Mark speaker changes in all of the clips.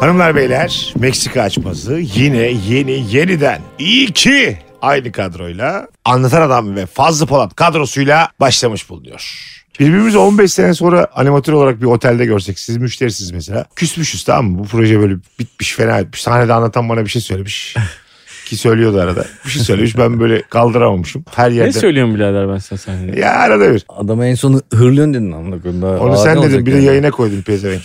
Speaker 1: Hanımlar beyler Meksika açması yine yeni yeniden iyi ki aynı kadroyla Anlatan Adam ve Fazlı Polat kadrosuyla başlamış bulunuyor. Birbirimizi 15 sene sonra animatör olarak bir otelde görsek siz müşterisiniz mesela. Küsmüşüz tamam mı? Bu proje böyle bitmiş fena etmiş. Sahnede anlatan bana bir şey söylemiş. Ki söylüyordu arada. Bir şey söylemiş ben böyle kaldıramamışım. Her
Speaker 2: Ne
Speaker 1: yerde.
Speaker 2: söylüyorsun birader ben sana sahnede?
Speaker 1: ya arada bir.
Speaker 3: Adama en son hırlıyorsun dedin amına koyayım. Daha
Speaker 1: Onu
Speaker 3: ağır ne
Speaker 1: sen
Speaker 3: olacak
Speaker 1: dedin bir de
Speaker 3: yani?
Speaker 1: yayına koydun pezevenk.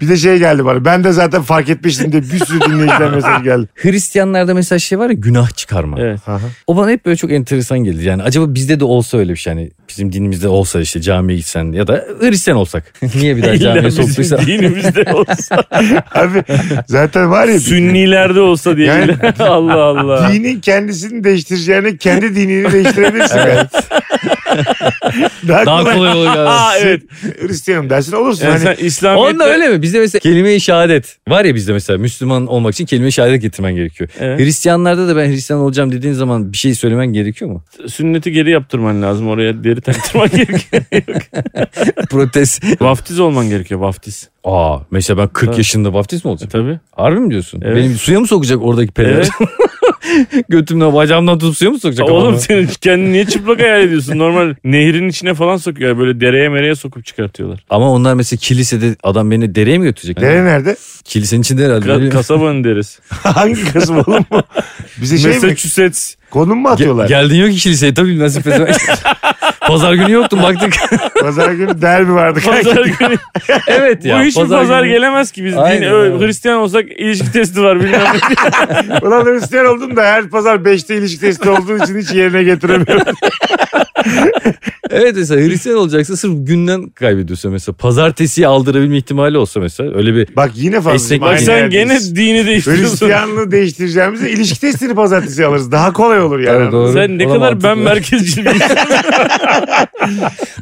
Speaker 1: bir de şey geldi bana. Ben de zaten fark etmiştim diye bir sürü dinleyiciden mesaj geldi.
Speaker 3: Hristiyanlarda mesela şey var ya günah çıkarma.
Speaker 2: Evet.
Speaker 1: Aha.
Speaker 3: O bana hep böyle çok enteresan geldi. Yani acaba bizde de olsa öyle bir şey. Yani bizim dinimizde olsa işte camiye gitsen ya da Hristiyan olsak. Niye bir daha
Speaker 2: İlla
Speaker 3: camiye
Speaker 2: bizim
Speaker 3: soktuysa.
Speaker 2: dinimizde olsa.
Speaker 1: Abi zaten var ya
Speaker 2: Sünnilerde olsa diye.
Speaker 1: Yani-
Speaker 2: bile. Allah Allah.
Speaker 1: dinin kendisini değiştireceğine kendi dinini değiştirebilirsin. yani. Daha,
Speaker 3: Daha
Speaker 1: kolay.
Speaker 3: kolay olur.
Speaker 2: Aa
Speaker 3: yani.
Speaker 2: evet.
Speaker 1: Hristiyanım dersin olursun.
Speaker 2: Yani
Speaker 1: hani,
Speaker 2: sen İslamiyet'te...
Speaker 3: Onda öyle mi? Bizde mesela kelime-i şehadet. Var ya bizde mesela Müslüman olmak için kelime-i şehadet getirmen gerekiyor.
Speaker 2: Evet.
Speaker 3: Hristiyanlarda da ben Hristiyan olacağım dediğin zaman bir şey söylemen gerekiyor mu?
Speaker 2: Sünneti geri yaptırman lazım. Oraya deri taktırman gerekiyor.
Speaker 3: Protest.
Speaker 2: vaftiz olman gerekiyor vaftiz.
Speaker 3: Aa mesela ben 40
Speaker 2: Evet.
Speaker 3: yaşında vaftiz mi olacağım?
Speaker 2: Tabii.
Speaker 3: Harbi mi diyorsun?
Speaker 2: Evet.
Speaker 3: Benim suya mı sokacak oradaki peder?
Speaker 2: Evet.
Speaker 3: Götümden bacağımdan tutup suya mı sokacak?
Speaker 2: Oğlum
Speaker 3: kafamı?
Speaker 2: sen kendini niye çıplak hayal ediyorsun? Normal nehrin içine falan sokuyor. Böyle dereye mereye sokup çıkartıyorlar.
Speaker 3: Ama onlar mesela kilisede adam beni dereye mi götürecek?
Speaker 1: Dere nerede?
Speaker 3: Kilisenin içinde herhalde.
Speaker 2: Ka-
Speaker 3: Bilmiyorum.
Speaker 2: kasabanın derisi.
Speaker 1: Hangi kısım oğlum bu? Bize şey mi?
Speaker 2: Massachusetts.
Speaker 1: Konum mu
Speaker 3: Ge-
Speaker 1: atıyorlar?
Speaker 3: geldin yok ki kiliseye tabii bilmezsin. Pazar günü yoktum baktık.
Speaker 1: Pazar günü derbi vardı.
Speaker 2: Pazar günü.
Speaker 3: evet ya.
Speaker 2: Bu hiç pazar,
Speaker 3: günü-
Speaker 2: gelemez ki biz. Din,
Speaker 3: Aynen,
Speaker 2: ö-
Speaker 3: evet.
Speaker 2: Hristiyan olsak ilişki testi var bilmem ne.
Speaker 1: Ulan Hristiyan oldum da her pazar 5'te ilişki testi olduğu için hiç yerine getiremiyorum.
Speaker 3: Evet mesela Hristiyan olacaksa sırf günden kaybediyorsa mesela. Pazartesiyi aldırabilme ihtimali olsa mesela. Öyle bir
Speaker 1: Bak yine fazla. şey
Speaker 3: Esnek
Speaker 2: Bak
Speaker 3: Aynen
Speaker 2: sen gene dini değiştiriyorsun.
Speaker 1: Hristiyanlığı değiştireceğimize ilişki testini pazartesi alırız. Daha kolay olur yani.
Speaker 3: Evet, doğru.
Speaker 2: Sen ne
Speaker 3: O da
Speaker 2: kadar
Speaker 3: mantıklı.
Speaker 2: ben merkezci bir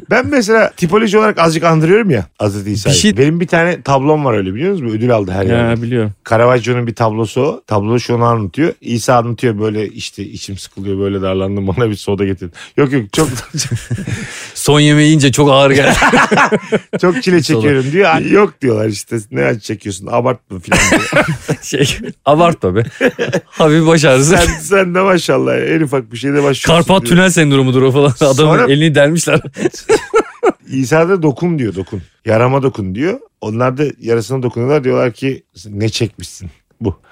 Speaker 1: Ben mesela tipoloji olarak azıcık andırıyorum ya Hazreti İsa'yı.
Speaker 3: Bir şey-
Speaker 1: Benim bir tane tablom var öyle biliyor musunuz? Ödül aldı her yerde.
Speaker 2: Ya biliyorum.
Speaker 1: Caravaggio'nun bir tablosu o. Tablo şunu anlatıyor. İsa anlatıyor böyle işte içim sıkılıyor böyle darlandım bana bir soda getirin. Yok yok çok
Speaker 3: son yemeği yiyince çok ağır geldi.
Speaker 1: çok çile çekiyorum diyor. Ay, Yok diyorlar işte ne acı çekiyorsun abartma filan diyor.
Speaker 3: şey, abartma be. Hafif baş ağrısı.
Speaker 1: sen, sen de maşallah en ufak bir şeyde başlıyorsun
Speaker 3: Karpat
Speaker 1: diyor.
Speaker 3: tünel sendromudur o falan. Adamın
Speaker 1: Sonra-
Speaker 3: elini delmişler.
Speaker 1: İsa da dokun diyor dokun. Yarama dokun diyor. Onlar da yarasına dokunuyorlar diyorlar ki ne çekmişsin.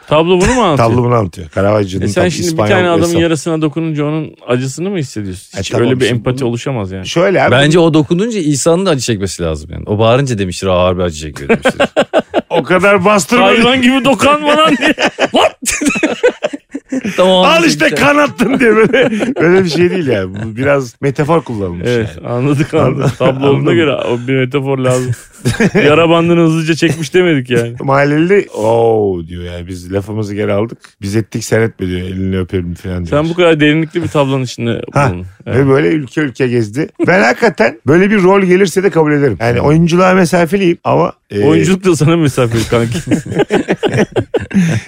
Speaker 2: Tablo bunu mu anlatıyor?
Speaker 1: Tablo bunu anlatıyor. Caravaggio'nun
Speaker 2: E sen
Speaker 1: tab-
Speaker 2: şimdi bir
Speaker 1: İspanyol
Speaker 2: tane adamın
Speaker 1: ressam.
Speaker 2: yarasına dokununca onun acısını mı hissediyorsun?
Speaker 1: E
Speaker 2: Hiç
Speaker 1: tamam,
Speaker 2: öyle bir
Speaker 1: şimdi
Speaker 2: empati
Speaker 1: bunu-
Speaker 2: oluşamaz yani.
Speaker 1: Şöyle abi
Speaker 3: Bence o dokununca İsa'nın da acı çekmesi lazım yani. O bağırınca demiştir "Aa, ağır bir acı çekiyor demiştir.
Speaker 1: o kadar bastırma.
Speaker 2: Hayvan gibi dokanma lan diye.
Speaker 3: tamam.
Speaker 1: Al işte kanattın diye böyle. Öyle bir şey değil yani. Bu biraz metafor kullanılmış.
Speaker 2: Evet
Speaker 1: yani.
Speaker 2: anladık anladık. Tablo olduğuna
Speaker 1: Anladım.
Speaker 2: göre o bir metafor lazım. Yara bandını hızlıca çekmiş demedik yani.
Speaker 1: Mahalleli ooo diyor yani biz lafımızı geri aldık. Biz ettik sen etme diyor elini öperim falan diyor.
Speaker 2: Sen bu kadar derinlikli bir tablonun içinde
Speaker 1: Ha,
Speaker 2: bulundun.
Speaker 1: Ve böyle ülke ülke gezdi. Ben hakikaten böyle bir rol gelirse de kabul ederim. Yani oyunculuğa mesafeliyim ama... e,
Speaker 2: Oyunculuk da sana mesafeli kanki.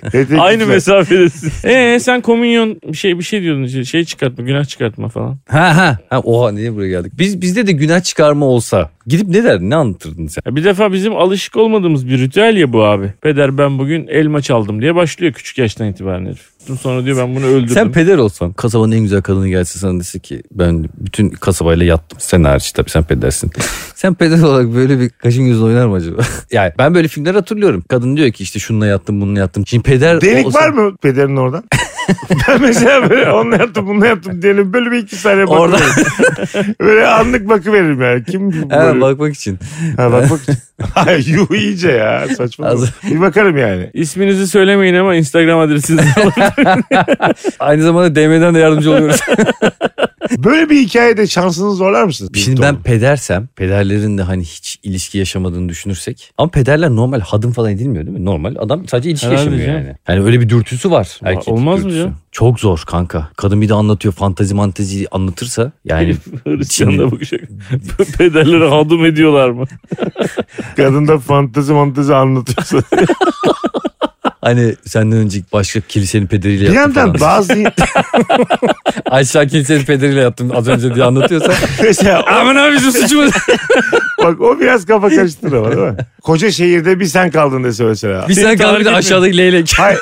Speaker 1: tetikçiler-
Speaker 2: Aynı mesafedesin. Eee sen komünyon bir şey bir şey diyordun. Şey çıkartma günah çıkartma falan.
Speaker 3: Ha ha. ha oha niye buraya geldik? Biz bizde de günah çıkarma olsa gidip ne derdin? Ne anlatırdın sen?
Speaker 2: Ya bir defa bizim alışık olmadığımız bir ritüel ya bu abi. Peder ben bugün elma çaldım diye başlıyor küçük yaştan itibaren herif. Sonra diyor ben bunu öldürdüm.
Speaker 3: Sen peder olsan kasabanın en güzel kadını gelse sana dese ki ben bütün kasabayla yattım. Sen hariç tabii sen pedersin. sen peder olarak böyle bir kaşın gözün oynar mı acaba? yani ben böyle filmler hatırlıyorum. Kadın diyor ki işte şununla yattım bununla yattım. Şimdi peder
Speaker 1: Delik
Speaker 3: olsa-
Speaker 1: var mı pederin oradan? ben mesela böyle onunla yaptım bununla yaptım diyelim böyle bir iki saniye
Speaker 3: Orada-
Speaker 1: bakıyorum. böyle anlık bakı veririm yani. Kim bu
Speaker 3: Ha,
Speaker 1: böyle?
Speaker 3: bakmak için.
Speaker 1: Ha, bak bak. Ay yuh iyice ya saçma.
Speaker 3: Az-
Speaker 1: Bir bakarım yani.
Speaker 2: İsminizi söylemeyin ama Instagram adresinizi alın.
Speaker 3: Aynı zamanda DM'den de yardımcı oluyoruz.
Speaker 1: Böyle bir hikayede şansınızı zorlar mısınız?
Speaker 3: Şimdi
Speaker 1: Birlikte
Speaker 3: ben
Speaker 1: olun.
Speaker 3: pedersem, pederlerin de hani hiç ilişki yaşamadığını düşünürsek. Ama pederler normal hadım falan edilmiyor değil mi? Normal adam sadece ilişki
Speaker 2: Herhalde
Speaker 3: yaşamıyor
Speaker 2: canım.
Speaker 3: yani. Yani öyle bir dürtüsü var.
Speaker 2: Aa,
Speaker 3: Erkek
Speaker 2: olmaz mı
Speaker 3: dürtüsü.
Speaker 2: canım?
Speaker 3: Çok zor kanka. Kadın bir de anlatıyor fantazi mantezi anlatırsa. Yani
Speaker 2: Hristiyan da bakacak. şey. Pederleri hadım ediyorlar mı?
Speaker 1: Kadın da fantezi mantezi anlatıyorsa.
Speaker 3: hani senden önce başka kilisenin pederiyle
Speaker 1: bir
Speaker 3: yaptı
Speaker 1: yandan
Speaker 3: falan.
Speaker 1: bazı...
Speaker 3: Aşağı kilisenin pederiyle yattım az önce diye anlatıyorsa.
Speaker 1: Mesela o-
Speaker 3: Aman abi bizim suçumuz.
Speaker 1: bak o biraz kafa karıştırıyor ama değil mi? Koca şehirde bir sen kaldın dese mesela.
Speaker 3: Bir sen kaldı bir de
Speaker 2: Tarih
Speaker 3: aşağıdaki leylek.
Speaker 1: Hayır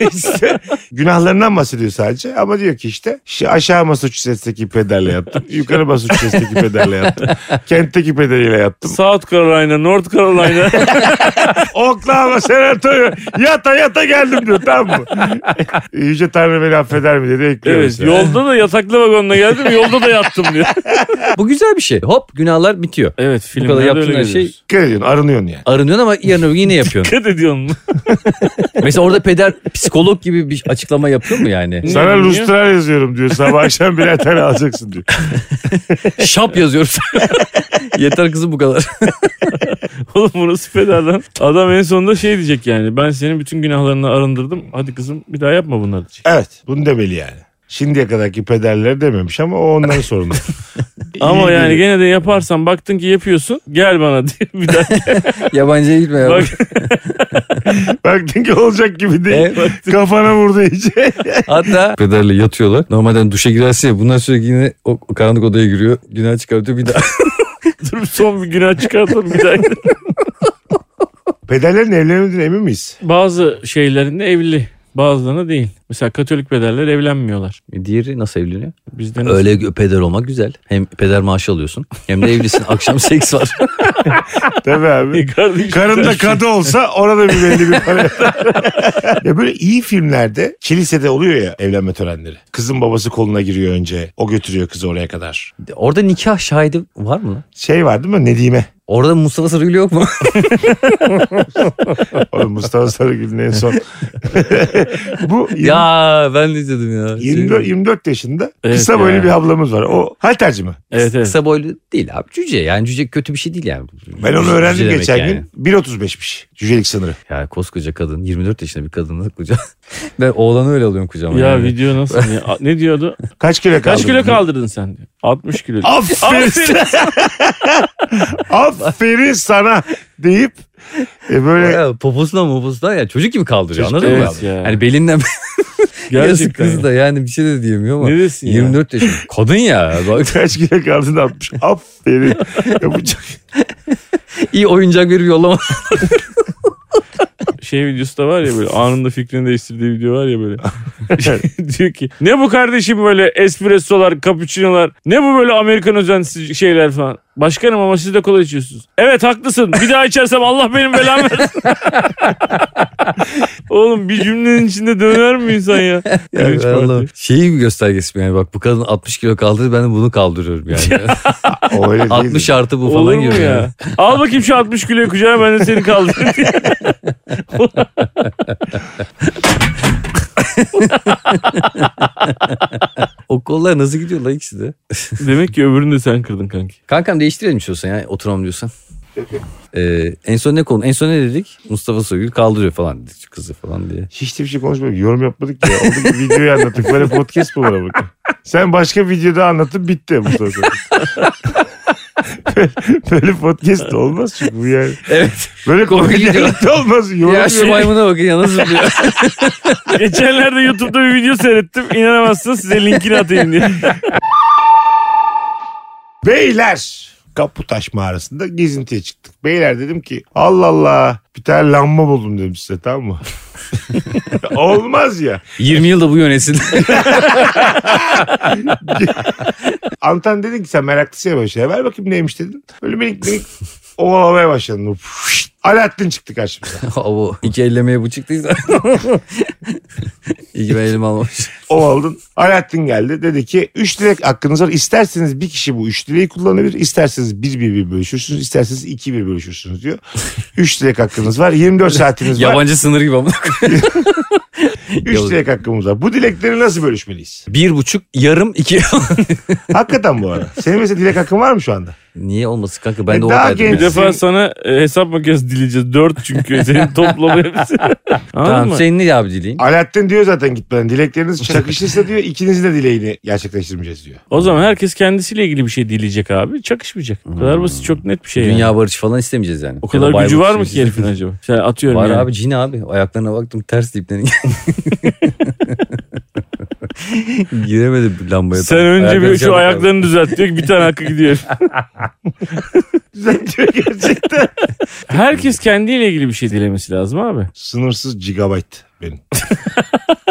Speaker 1: hiç, işte günahlarından bahsediyor sadece ama diyor ki işte şu aşağı Massachusetts'teki pederle yattım. Yukarı Massachusetts'teki pederle yattım. Kentteki pederiyle yattım.
Speaker 2: South Carolina, North Carolina.
Speaker 1: Oklahoma senatoyu yata yata geldim diyor tamam mı? Yüce Tanrı beni affeder mi dedi ekliyor.
Speaker 2: evet
Speaker 1: mesela.
Speaker 2: yolda da yataklı vagonla geldim yolda da yattım diyor.
Speaker 3: Bu güzel bir şey. Hop günahlar bitiyor.
Speaker 2: Evet
Speaker 3: Bu
Speaker 2: filmlerde
Speaker 3: kadar
Speaker 2: öyle
Speaker 3: yaptığın her şey
Speaker 2: görüyoruz.
Speaker 1: Dikkat ediyorsun arınıyorsun yani.
Speaker 3: arınıyorsun ama yarın öbür gün yine yapıyorsun.
Speaker 2: Dikkat ediyorsun.
Speaker 3: Mesela orada peder psikolog gibi bir açıklama yapıyor mu yani?
Speaker 2: Ne
Speaker 1: Sana
Speaker 2: diyor?
Speaker 1: lustra yazıyorum diyor. Sabah akşam birer tane alacaksın diyor.
Speaker 3: Şap yazıyoruz. Yeter kızım bu kadar.
Speaker 2: Oğlum burası fedadan. Adam en sonunda şey diyecek yani. Ben senin bütün günahlarını arındırdım. Hadi kızım bir daha yapma bunları diyecek.
Speaker 1: Evet. Bunu demeli yani. Şimdiye kadarki pederleri dememiş ama o onların sorunu.
Speaker 2: Ama
Speaker 1: İyi
Speaker 2: yani
Speaker 1: değil.
Speaker 2: gene de yaparsan baktın ki yapıyorsun. Gel bana diye bir daha.
Speaker 3: Yabancıya gitme ya.
Speaker 2: Bak,
Speaker 1: Baktın ki olacak gibi değil.
Speaker 3: Evet.
Speaker 1: Kafana vurdu iyice.
Speaker 3: Hatta pederle yatıyorlar. Normalden duşa girersin ya. Bunlar sürekli yine o, o karanlık odaya giriyor. Günah çıkartıyor bir daha.
Speaker 2: dur son bir günah çıkartalım bir daha.
Speaker 1: Pederlerin evlenmediğine emin miyiz?
Speaker 2: Bazı şeylerinde evli. Bazılarına değil. Mesela Katolik pederler evlenmiyorlar.
Speaker 3: Diğeri nasıl evleniyor?
Speaker 2: Bizden
Speaker 3: Öyle peder olmak güzel. Hem peder maaşı alıyorsun hem de evlisin. Akşam seks var.
Speaker 1: Tabii abi.
Speaker 2: Kardeşim.
Speaker 1: Karın da kadı olsa orada bir belli bir para yatar. ya böyle iyi filmlerde kilisede oluyor ya evlenme törenleri. Kızın babası koluna giriyor önce. O götürüyor kızı oraya kadar.
Speaker 3: Orada nikah şahidi var mı lan?
Speaker 1: Şey var değil mi? Nedime.
Speaker 3: Orada Mustafa Sarıgül yok mu?
Speaker 1: Oğlum Mustafa Sarıgül'ün en son. Bu yirmi-
Speaker 3: ya ben de izledim ya.
Speaker 1: 24, 24 yaşında
Speaker 2: Evet
Speaker 1: kısa boylu
Speaker 2: ya.
Speaker 1: bir ablamız var. O halterci mi?
Speaker 2: Evet evet.
Speaker 3: Kısa boylu değil abi. Cüce yani cüce kötü bir şey değil yani.
Speaker 1: Ben onu
Speaker 3: Cüce
Speaker 1: öğrendim
Speaker 3: demek
Speaker 1: geçen
Speaker 3: yani.
Speaker 1: gün. 1.35'miş cücelik sınırı.
Speaker 3: Ya koskoca kadın 24 yaşında bir kadını kucağa. ben oğlanı öyle alıyorum kucağıma.
Speaker 2: Ya
Speaker 3: yani.
Speaker 2: video nasıl? ya? A- Ne diyordu?
Speaker 1: Kaç kilo kaldı?
Speaker 2: Kaç kilo kaldırdın sen? diyor. 60 kilo.
Speaker 1: Aferin, aferin sana deyip e, böyle
Speaker 3: Ya, poposuna moposuna ya çocuk gibi kaldırıyor
Speaker 1: Çocuk-
Speaker 3: anladın
Speaker 2: Evet
Speaker 3: mı?
Speaker 2: ya.
Speaker 3: Hani belinden yazık
Speaker 2: Gerçekten.
Speaker 3: kız da yani bir şey de diyemiyor ama.
Speaker 2: Ne desin ya?
Speaker 3: 24 yaşında. Kadın ya. Bak,
Speaker 1: kaç kilo kaldın 60. Aferin. E, Yapacak.
Speaker 3: iyi oyuncak verip yollama.
Speaker 2: şey videosu da var ya böyle anında fikrini değiştirdiği video var ya böyle. diyor ki ne bu kardeşim böyle espressolar, cappuccinolar ne bu böyle Amerikan özensiz şeyler falan. Başkanım ama siz de kola içiyorsunuz. Evet haklısın bir daha içersem Allah benim belamı versin. Oğlum bir cümlenin içinde döner mi insan ya? Cringe
Speaker 3: Yani
Speaker 2: party.
Speaker 3: Allah'ım. Şeyi bir göstergesi mi yani bak bu kadın 60 kilo kaldırdı ben de bunu kaldırıyorum yani.
Speaker 1: O öyle değil.
Speaker 3: 60 artı bu
Speaker 2: Olur
Speaker 3: falan
Speaker 2: mu
Speaker 3: gibi. yani.
Speaker 2: ya? Al bakayım şu 60 kiloyu kucağına ben de seni kaldırayım.
Speaker 3: O kollar nasıl gidiyor la ikisi de?
Speaker 2: Demek ki öbürünü de sen kırdın kanki.
Speaker 3: Kankam değiştirelim istiyorsan ya oturamam diyorsan. Ee, en son ne konu? En son ne dedik? Mustafa Soygül kaldırıyor falan dedik kızı falan diye.
Speaker 1: Hiç de bir şey konuşmadık. Yorum yapmadık ya. Oradaki videoyu anlattık. Böyle podcast mı var bak. Sen başka videoda anlatıp bitti Mustafa. böyle podcast da olmaz çünkü bu yani.
Speaker 3: Evet.
Speaker 1: Böyle
Speaker 3: Komik
Speaker 1: komik
Speaker 3: video.
Speaker 1: yayın da olmaz. Yorum
Speaker 3: ya şey-
Speaker 1: yok.
Speaker 3: şu maymuna bakın ya nasıl diyor.
Speaker 2: Geçenlerde YouTube'da bir video seyrettim. İnanamazsınız size linkini atayım diye.
Speaker 1: Beyler Kaputaş mağarasında gezintiye çıktık. Beyler dedim ki Allah Allah bir tane lamba buldum dedim size tamam mı? Olmaz ya.
Speaker 3: 20 yılda bu yönetsin.
Speaker 1: Antan dedin ki sen meraklısın ya böyle şey. Ver bakayım neymiş dedin. Böyle minik minik ovalamaya başladın. Fışt! Alaaddin çıktı karşımıza.
Speaker 3: Abo iki ellemeye bu çıktıysa. İyi ki ben elimi almamış.
Speaker 1: Ovaldın. Alaaddin geldi. Dedi ki 3 dilek hakkınız var. İsterseniz bir kişi bu 3 dileği kullanabilir. İsterseniz 1 1 1 bölüşürsünüz. İsterseniz 2 1 bölüşürsünüz diyor. 3 dilek hakkınız var. 24 saatiniz var.
Speaker 3: Yabancı sınır gibi ama.
Speaker 1: 3 dilek hakkımız var. Bu dilekleri nasıl bölüşmeliyiz?
Speaker 3: Bir buçuk, yarım, iki.
Speaker 1: Hakikaten bu arada. Senin mesela dilek hakkın var mı şu anda?
Speaker 3: Niye olmasın kanka? Ben
Speaker 1: E,
Speaker 3: de
Speaker 1: daha
Speaker 3: oradaydım.
Speaker 1: genç.
Speaker 2: Bir defa sana e, hesap makinesi dileyeceğiz. Dört çünkü senin toplama hepsi. Anladın
Speaker 3: Tamam şey-
Speaker 2: mı?
Speaker 3: senin ne abi dileğin?
Speaker 1: Alaaddin diyor zaten gitmeden. Dilekleriniz çakışırsa diyor ikinizin de dileğini gerçekleştirmeyeceğiz diyor.
Speaker 2: O zaman herkes kendisiyle ilgili bir şey dileyecek abi. Çakışmayacak. O kadar basit çok net bir şey yani.
Speaker 3: Dünya barışı falan istemeyeceğiz yani.
Speaker 2: O
Speaker 3: Ya da
Speaker 2: kadar
Speaker 3: bay
Speaker 2: gücü
Speaker 3: barışı
Speaker 2: var mı ki
Speaker 3: istemeyeceğiz.
Speaker 2: herifin acaba? Sen atıyorum
Speaker 3: Var
Speaker 2: yani.
Speaker 3: abi cin abi. Ayaklarına baktım ters diplerin. Giremedi bir lambaya.
Speaker 2: Sen
Speaker 3: tam.
Speaker 2: önce bir
Speaker 3: Ayakları
Speaker 2: şu
Speaker 3: çabuk
Speaker 2: ayaklarını düzelt diyor ki bir tane hakkı gidiyor.
Speaker 1: Düzeltiyor gerçekten.
Speaker 2: Herkes kendiyle ilgili bir şey dilemesi lazım abi.
Speaker 1: Sınırsız gigabyte benim.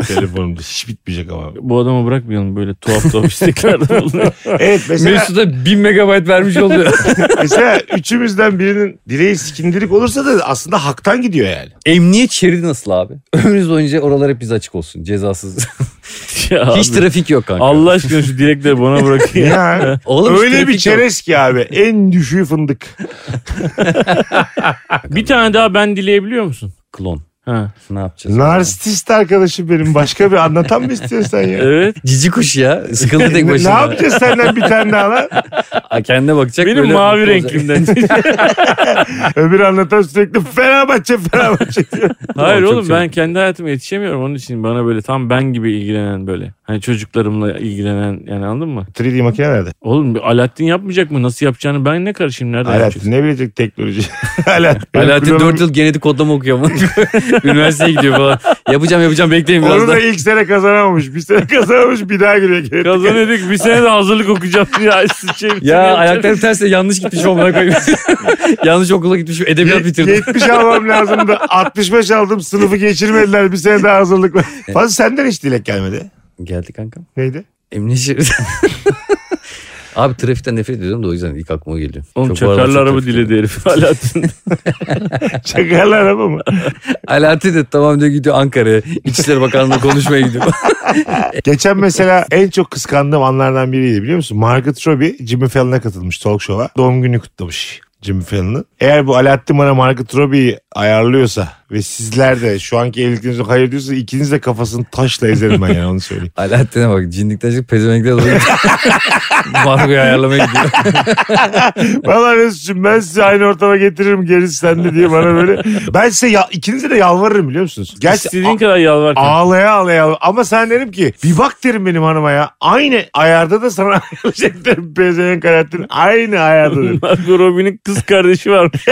Speaker 1: Telefonumda hiç bitmeyecek ama.
Speaker 2: Bu adamı bırakmayalım böyle tuhaf tuhaf isteklerde bulunuyor.
Speaker 1: Evet
Speaker 3: abi.
Speaker 1: mesela,
Speaker 3: Mesut'a 1000 megabayt vermiş oluyor.
Speaker 1: mesela üçümüzden birinin dileği skindirik olursa da aslında haktan gidiyor yani.
Speaker 3: Emniyet şeridi nasıl abi? Ömrünüz boyunca oralar hep biz açık olsun. Cezasız.
Speaker 2: Ya
Speaker 3: Hiç
Speaker 2: abi,
Speaker 3: trafik yok kanka.
Speaker 2: Allah aşkına şu dilekleri bana bırakın ya.
Speaker 1: Ya.
Speaker 3: Oğlum hiç
Speaker 1: Öyle
Speaker 3: trafik
Speaker 1: bir
Speaker 3: yok.
Speaker 1: çerez ki abi. En düşüğü fındık.
Speaker 2: Bir tane daha ben dileyebiliyor musun?
Speaker 3: Klon.
Speaker 2: Ha.
Speaker 3: Ne yapacağız?
Speaker 1: Narsist arkadaşım benim. Başka bir anlatan mı istiyorsun sen ya?
Speaker 2: Evet.
Speaker 3: Cici kuş ya. Sıkıldı tek
Speaker 1: Ne, ne
Speaker 3: başına.
Speaker 1: yapacağız senden bir tane daha lan?
Speaker 3: Ha, Kendine bakacak.
Speaker 2: Benim
Speaker 3: böyle
Speaker 2: mavi
Speaker 3: mutlu olacak.
Speaker 2: renklimden.
Speaker 1: Öbür anlatan sürekli Fenerbahçe Fenerbahçe diyor.
Speaker 2: Hayır
Speaker 3: Çok
Speaker 2: oğlum ben
Speaker 3: çabuk.
Speaker 2: kendi hayatıma yetişemiyorum. Onun için bana böyle tam ben gibi ilgilenen böyle. Hani çocuklarımla ilgilenen yani anladın mı?
Speaker 1: 3D makine nerede?
Speaker 2: Oğlum bir Alaaddin yapmayacak mı? Nasıl yapacağını ben ne karışayım? Nerede yapacak?
Speaker 1: Alaaddin ne bilecek teknoloji? Alaaddin.
Speaker 3: Alaaddin 4 yıl genetik kodlama okuyor ama. Üniversiteye gidiyor falan. Yapacağım yapacağım bekleyin biraz
Speaker 1: Onu
Speaker 3: daha.
Speaker 1: da ilk sene kazanamamış. Bir sene kazanamamış bir daha giriyor.
Speaker 2: Kazanıyorduk bir sene de hazırlık okuyacağım. Ya, sıçayım,
Speaker 3: Ya
Speaker 2: yapacağım.
Speaker 3: ayaklarım ters de yanlış gitmiş amına koyayım. yanlış okula gitmişim edebiyat bitirdim.
Speaker 1: 70 almam lazımdı. 65 aldım. Sınıfı geçirmediler. Bir sene daha hazırlıkla. Fazla senden hiç dilek gelmedi.
Speaker 3: Geldi kankam.
Speaker 1: Neydi?
Speaker 3: Emniyet şeridi. Abi trafikten nefret ediyorum da o yüzden ilk aklıma geliyor.
Speaker 2: Oğlum
Speaker 3: Çok bu aralar
Speaker 2: çakarlı
Speaker 3: çok
Speaker 2: araba
Speaker 3: trafik
Speaker 2: diledi herif Alaaddin.
Speaker 1: Çakarlı araba mı?
Speaker 3: Alaaddin de tamam diyor gidiyor Ankara'ya. İçişleri Bakanlığı'na konuşmaya gidiyor.
Speaker 1: Geçen mesela en çok kıskandığım anlardan biriydi biliyor musun? Margaret Robbie Jimmy Fallon'a katılmış talk show'a. Doğum günü kutlamış Jimmy Fallon'ın. Eğer bu Alaaddin bana Margaret Robbie'yi ayarlıyorsa ve sizler de şu anki evliliklerinizde hayır diyorsa ikiniz de kafasını taşla ezerim ben yani onu söyleyeyim.
Speaker 3: Alaaddin'e bak cinlikten çıkıp pezevenkliğe doğru gidiyor. Margo'yu ayarlamaya gidiyor.
Speaker 1: Valla Mesut'cum ben sizi aynı ortama getiririm gerisi sende diye bana böyle. Ben size ya, ikinize de yalvarırım biliyor musunuz? Gerçi
Speaker 2: İstediğin kadar yalvar. kanka.
Speaker 1: Ağlaya ağlaya ağlaya. Ama sen derim ki bir bak derim benim hanıma ya. Aynı ayarda da sana ayarlayacak derim. Pezevenk hayatın aynı ayarda derim.
Speaker 2: Margot Robbie'nin kız kardeşi varmış.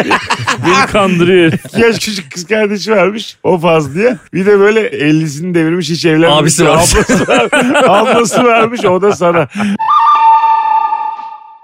Speaker 2: Beni kandırıyor. herif.
Speaker 1: İki yaş küçük kız kardeşi varmış. O faz diye. Bir de böyle 50'sini devirmiş hiç evlenmemiş.
Speaker 3: Abisi varmış.
Speaker 1: Ablası, var, ablası varmış o da sana.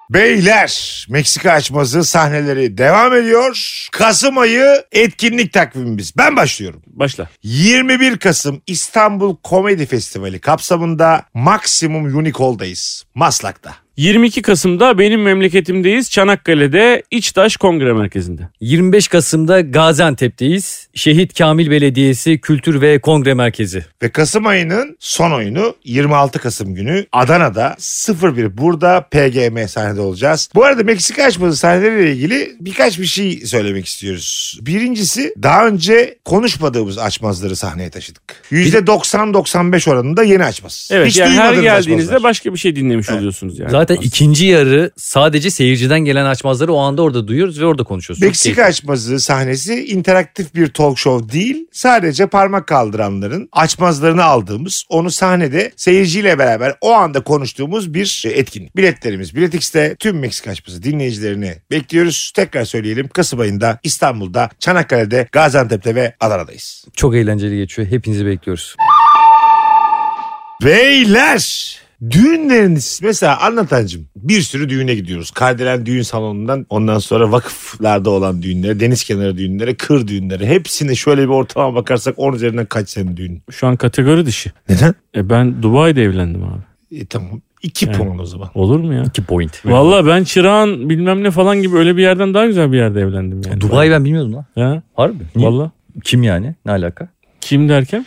Speaker 1: Beyler Meksika açması sahneleri devam ediyor. Kasım ayı etkinlik takvimimiz. Ben başlıyorum.
Speaker 2: Başla.
Speaker 1: 21 Kasım İstanbul Komedi Festivali kapsamında Maximum Unicol'dayız. Maslak'ta.
Speaker 2: 22 Kasım'da benim memleketimdeyiz. Çanakkale'de İçtaş Kongre Merkezi'nde.
Speaker 3: 25 Kasım'da Gaziantep'teyiz. Şehit Kamil Belediyesi Kültür ve Kongre Merkezi.
Speaker 1: Ve Kasım ayının son oyunu 26 Kasım günü Adana'da 01 burada PGM sahnede olacağız. Bu arada Meksika açması sahneleriyle ilgili birkaç bir şey söylemek istiyoruz. Birincisi daha önce konuşmadığımız açmazları sahneye taşıdık. %90-95 oranında yeni açmaz.
Speaker 2: Evet
Speaker 1: Hiç
Speaker 2: yani her
Speaker 1: duymadığımız
Speaker 2: geldiğinizde
Speaker 1: açmazlar.
Speaker 2: başka bir şey dinlemiş oluyorsunuz yani.
Speaker 3: Zaten ikinci yarı sadece seyirciden gelen açmazları o anda orada duyuyoruz ve orada konuşuyoruz. Çok
Speaker 1: Meksika açmazı sahnesi interaktif bir talk show değil. Sadece parmak kaldıranların açmazlarını aldığımız, onu sahnede seyirciyle beraber o anda konuştuğumuz bir etkinlik. Biletlerimiz Biletix'te tüm Meksika açması dinleyicilerini bekliyoruz. Tekrar söyleyelim. Kasım ayında İstanbul'da, Çanakkale'de, Gaziantep'te ve Adana'dayız.
Speaker 3: Çok eğlenceli geçiyor. Hepinizi bekliyoruz.
Speaker 1: Beyler! Düğünleriniz mesela anlatancım bir sürü düğüne gidiyoruz. Kardelen düğün salonundan ondan sonra vakıflarda olan düğünlere, deniz kenarı düğünlere, kır düğünlere hepsine şöyle bir ortalama bakarsak 10 üzerinden kaç senin düğün?
Speaker 2: Şu an kategori dışı.
Speaker 1: Neden?
Speaker 2: E ben Dubai'de evlendim abi.
Speaker 1: E, tamam 2
Speaker 2: Yani.
Speaker 1: puan o zaman.
Speaker 2: Olur mu ya?
Speaker 3: 2 point.
Speaker 2: Valla ben Çırağan bilmem ne falan gibi öyle bir yerden daha güzel bir yerde evlendim yani.
Speaker 3: Dubai ben bilmiyordum lan.
Speaker 2: Ya,
Speaker 3: Harbi. Niye?
Speaker 2: valla.
Speaker 3: Kim yani? Ne alaka?
Speaker 2: Kim derken?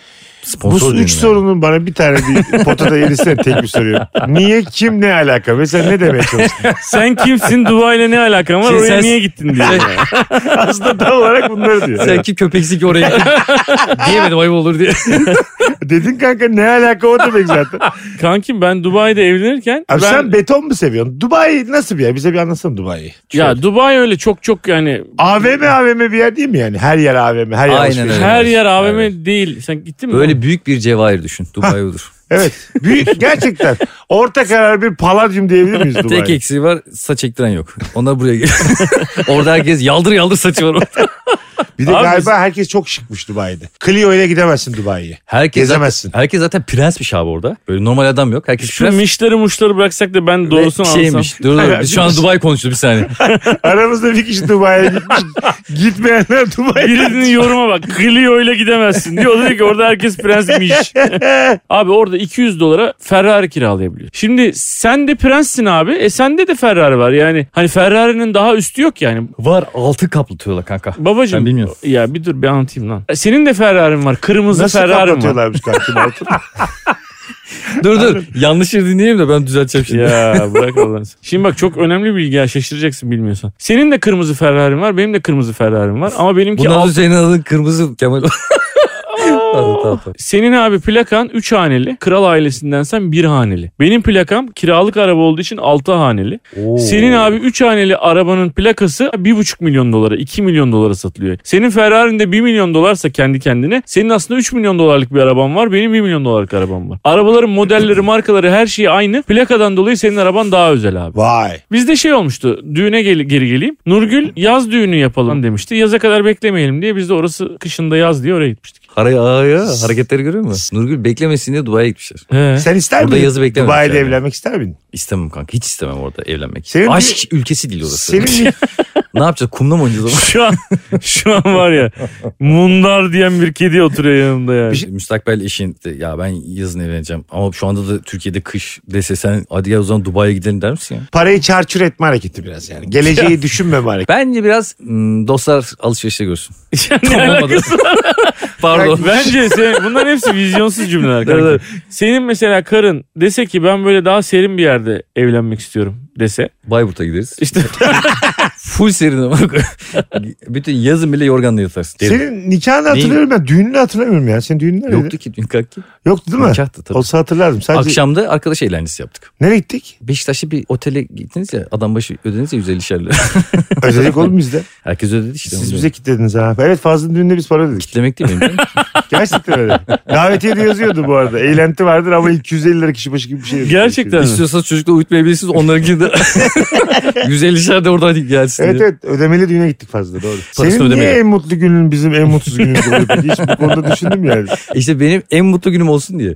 Speaker 1: Bu
Speaker 3: düğünü
Speaker 1: üç
Speaker 3: yani.
Speaker 1: sorunun bana bir tane bir potada yerisine tek bir soruyor. Niye, kim, ne alaka? Mesela ne demeye çalıştın?
Speaker 2: Sen kimsin Dubai'yle ne alakan var
Speaker 3: Şey,
Speaker 2: oraya
Speaker 3: sen-
Speaker 2: niye gittin diye.
Speaker 3: Sen-
Speaker 1: Aslında tam olarak bunları diyor.
Speaker 3: Sen ki köpeksi ki oraya gittin. Diyemedim ayıp olur diye.
Speaker 1: Dedin kanka ne alaka o demek zaten.
Speaker 2: Kankim ben Dubai'de evlenirken.
Speaker 1: Abi
Speaker 2: ben-
Speaker 1: sen beton mu seviyorsun? Dubai nasıl bir yer? Bize bir anlatsana Dubai'yi.
Speaker 3: şey-
Speaker 2: Ya Dubai öyle çok çok yani
Speaker 1: AVM AVM bir yer değil mi yani? Her yer AVM, her yer
Speaker 3: Aynen
Speaker 1: alışveriş.
Speaker 3: öyle.
Speaker 2: her
Speaker 3: Evet,
Speaker 2: yer AVM
Speaker 3: evet.
Speaker 2: değil. Sen gittin mi?
Speaker 3: Böyle büyük bir cevahir düşün. Dubai olur.
Speaker 1: Evet. Büyük gerçekten. Orta karar bir paladyum diyebilir miyiz Dubai'ye?
Speaker 3: Tek eksiği var saç ektiren yok. Onlar buraya geliyor. Orada herkes yaldır yaldır saçı var.
Speaker 1: Bir de
Speaker 2: Abi
Speaker 1: galiba herkes çok şıkmış Dubai'de. Clio ile gidemezsin Dubai'ye.
Speaker 3: Herkes
Speaker 1: Gezemezsin.
Speaker 3: Zaten, herkes zaten prensmiş abi orada. Böyle normal adam yok. Herkes
Speaker 2: Şu
Speaker 3: prens.
Speaker 2: mişleri muşları bıraksak da ben
Speaker 3: ve
Speaker 2: doğrusunu alsam.
Speaker 3: şeymiş. Dur dur. Biz şu an Dubai konuşuyoruz bir saniye.
Speaker 1: Aramızda bir kişi Dubai'ye gitmiş. Gitmeyenler Dubai'ye.
Speaker 2: Birinin yoruma bak. Clio ile gidemezsin. Diyor O da diyor ki orada herkes prensmiş. abi orada 200 dolara Ferrari kiralayabiliyor. Şimdi sen de prenssin abi. E sende de Ferrari var. Yani hani Ferrari'nin daha üstü yok yani.
Speaker 3: Var altı kaplı tüyola kanka.
Speaker 2: Babacım.
Speaker 3: Ben bilmiyorum.
Speaker 2: Ya bir dur bir anlatayım lan. E, Senin de Ferrari'nin var. Kırmızı
Speaker 1: Nasıl
Speaker 2: Ferrari'nin var.
Speaker 1: kapatıyorlarmış kartını altını?
Speaker 3: dur dur. Yanlış yeri dinleyeyim de ben düzelteceğim şimdi.
Speaker 2: Ya bırak Allah'ını. seversen. Şimdi bak çok önemli bilgi ya şaşıracaksın bilmiyorsan. Senin de kırmızı Ferrari'm var benim de kırmızı Ferrari'm var ama benimki
Speaker 3: Bundan
Speaker 2: alt-
Speaker 3: önce senin adın kırmızı Kemal. Tamam, tamam, tamam.
Speaker 2: Senin abi plakan 3 haneli. Kral ailesindensen 1 haneli. Benim plakam kiralık araba olduğu için 6 haneli. Senin abi 3 haneli arabanın plakası 1,5 milyon dolara 2 milyon dolara satılıyor. Senin Ferrari'nin de 1 milyon dolarsa kendi kendine senin aslında 3 milyon dolarlık bir araban var. Benim 1 milyon dolarlık arabam var. Arabaların modelleri markaları her şeyi aynı. Plakadan dolayı senin araban daha özel abi.
Speaker 1: Vay.
Speaker 2: Bizde şey olmuştu. Düğüne gel- geri geleyim. Nurgül yaz düğünü yapalım demişti. Yaza kadar beklemeyelim diye biz de orası kışında yaz diye oraya gitmiştik.
Speaker 3: Hare- aa ya, hareketleri görüyor musun? Nurgül beklemesin diye Dubai'ye gitmişler.
Speaker 2: He.
Speaker 1: Sen ister
Speaker 3: Burada
Speaker 1: miydin?
Speaker 3: yazı beklememiş
Speaker 1: Dubai'de
Speaker 3: yani.
Speaker 1: evlenmek ister miydin?
Speaker 3: İstemem kanka. Hiç istemem orada evlenmek.
Speaker 1: Senin-
Speaker 3: Aşk ülkesi değil orası.
Speaker 1: Senin
Speaker 3: Ne yapacağız? Kumda mı oynayacağız? ama?
Speaker 2: Şu an şu an var ya mundar diyen bir kedi oturuyor yanımda yani.
Speaker 3: şey- Müstakbel eşin de, ya ben yazın evleneceğim ama şu anda da Türkiye'de kış dese sen hadi ya o zaman Dubai'ye gidelim der misin ya?
Speaker 1: parayı çarçur etme hareketi biraz yani. Geleceği düşünmeme hareketi.
Speaker 3: Bence biraz hmm, dostlar alışverişte görsün.
Speaker 2: ne alakası var?
Speaker 3: Pardon.
Speaker 2: Bence sen, bunların hepsi vizyonsuz cümleler. kanka. Senin mesela karın dese ki ben böyle daha serin bir yerde evlenmek istiyorum dese.
Speaker 3: Bayburt'a gideriz.
Speaker 2: İşte
Speaker 3: Full serin ama. Bütün yazın bile yorganla yatarsın.
Speaker 1: Senin nikahını hatırlıyorum ben. Düğününü hatırlamıyorum ya. Senin düğünün neredeydi?
Speaker 3: Yoktu
Speaker 1: Yoktu,
Speaker 3: ki dün kalktı.
Speaker 1: değil mi?
Speaker 3: Nikahtı tabii.
Speaker 1: Olsa hatırlardım. Sadece
Speaker 3: Akşamda arkadaş eğlencesi yaptık.
Speaker 1: nereye gittik?
Speaker 3: Beşiktaş'ta bir otele gittiniz ya adam başı ödediniz ya 150 şerli.
Speaker 1: Ödedik oğlum bizde.
Speaker 3: Herkes ödedi işte.
Speaker 1: Siz
Speaker 3: onu
Speaker 1: bize kitlediniz ha. Evet Fazlı'nın düğününde biz para ödedik.
Speaker 3: Kitlemek değil mi?
Speaker 1: Gerçekten öyle. Davetiye de yazıyordu bu arada. Eğlenti vardır ama 250 lira kişi başı gibi bir şey. yazıyor.
Speaker 2: gerçekten mi?
Speaker 3: İstiyorsanız çocukla uyutmayabilirsiniz. Onlarınki de 150 şer de oradan gelsin
Speaker 1: Evet
Speaker 3: diye.
Speaker 1: evet ödemeli düğüne gittik fazla doğru.
Speaker 3: Parasını
Speaker 1: Senin niye
Speaker 3: ödemeye.
Speaker 1: en mutlu günün bizim en mutsuz günümüz oluyor peki? Hiç bu konuda düşündüm yani.
Speaker 3: İşte benim en mutlu günüm olsun diye.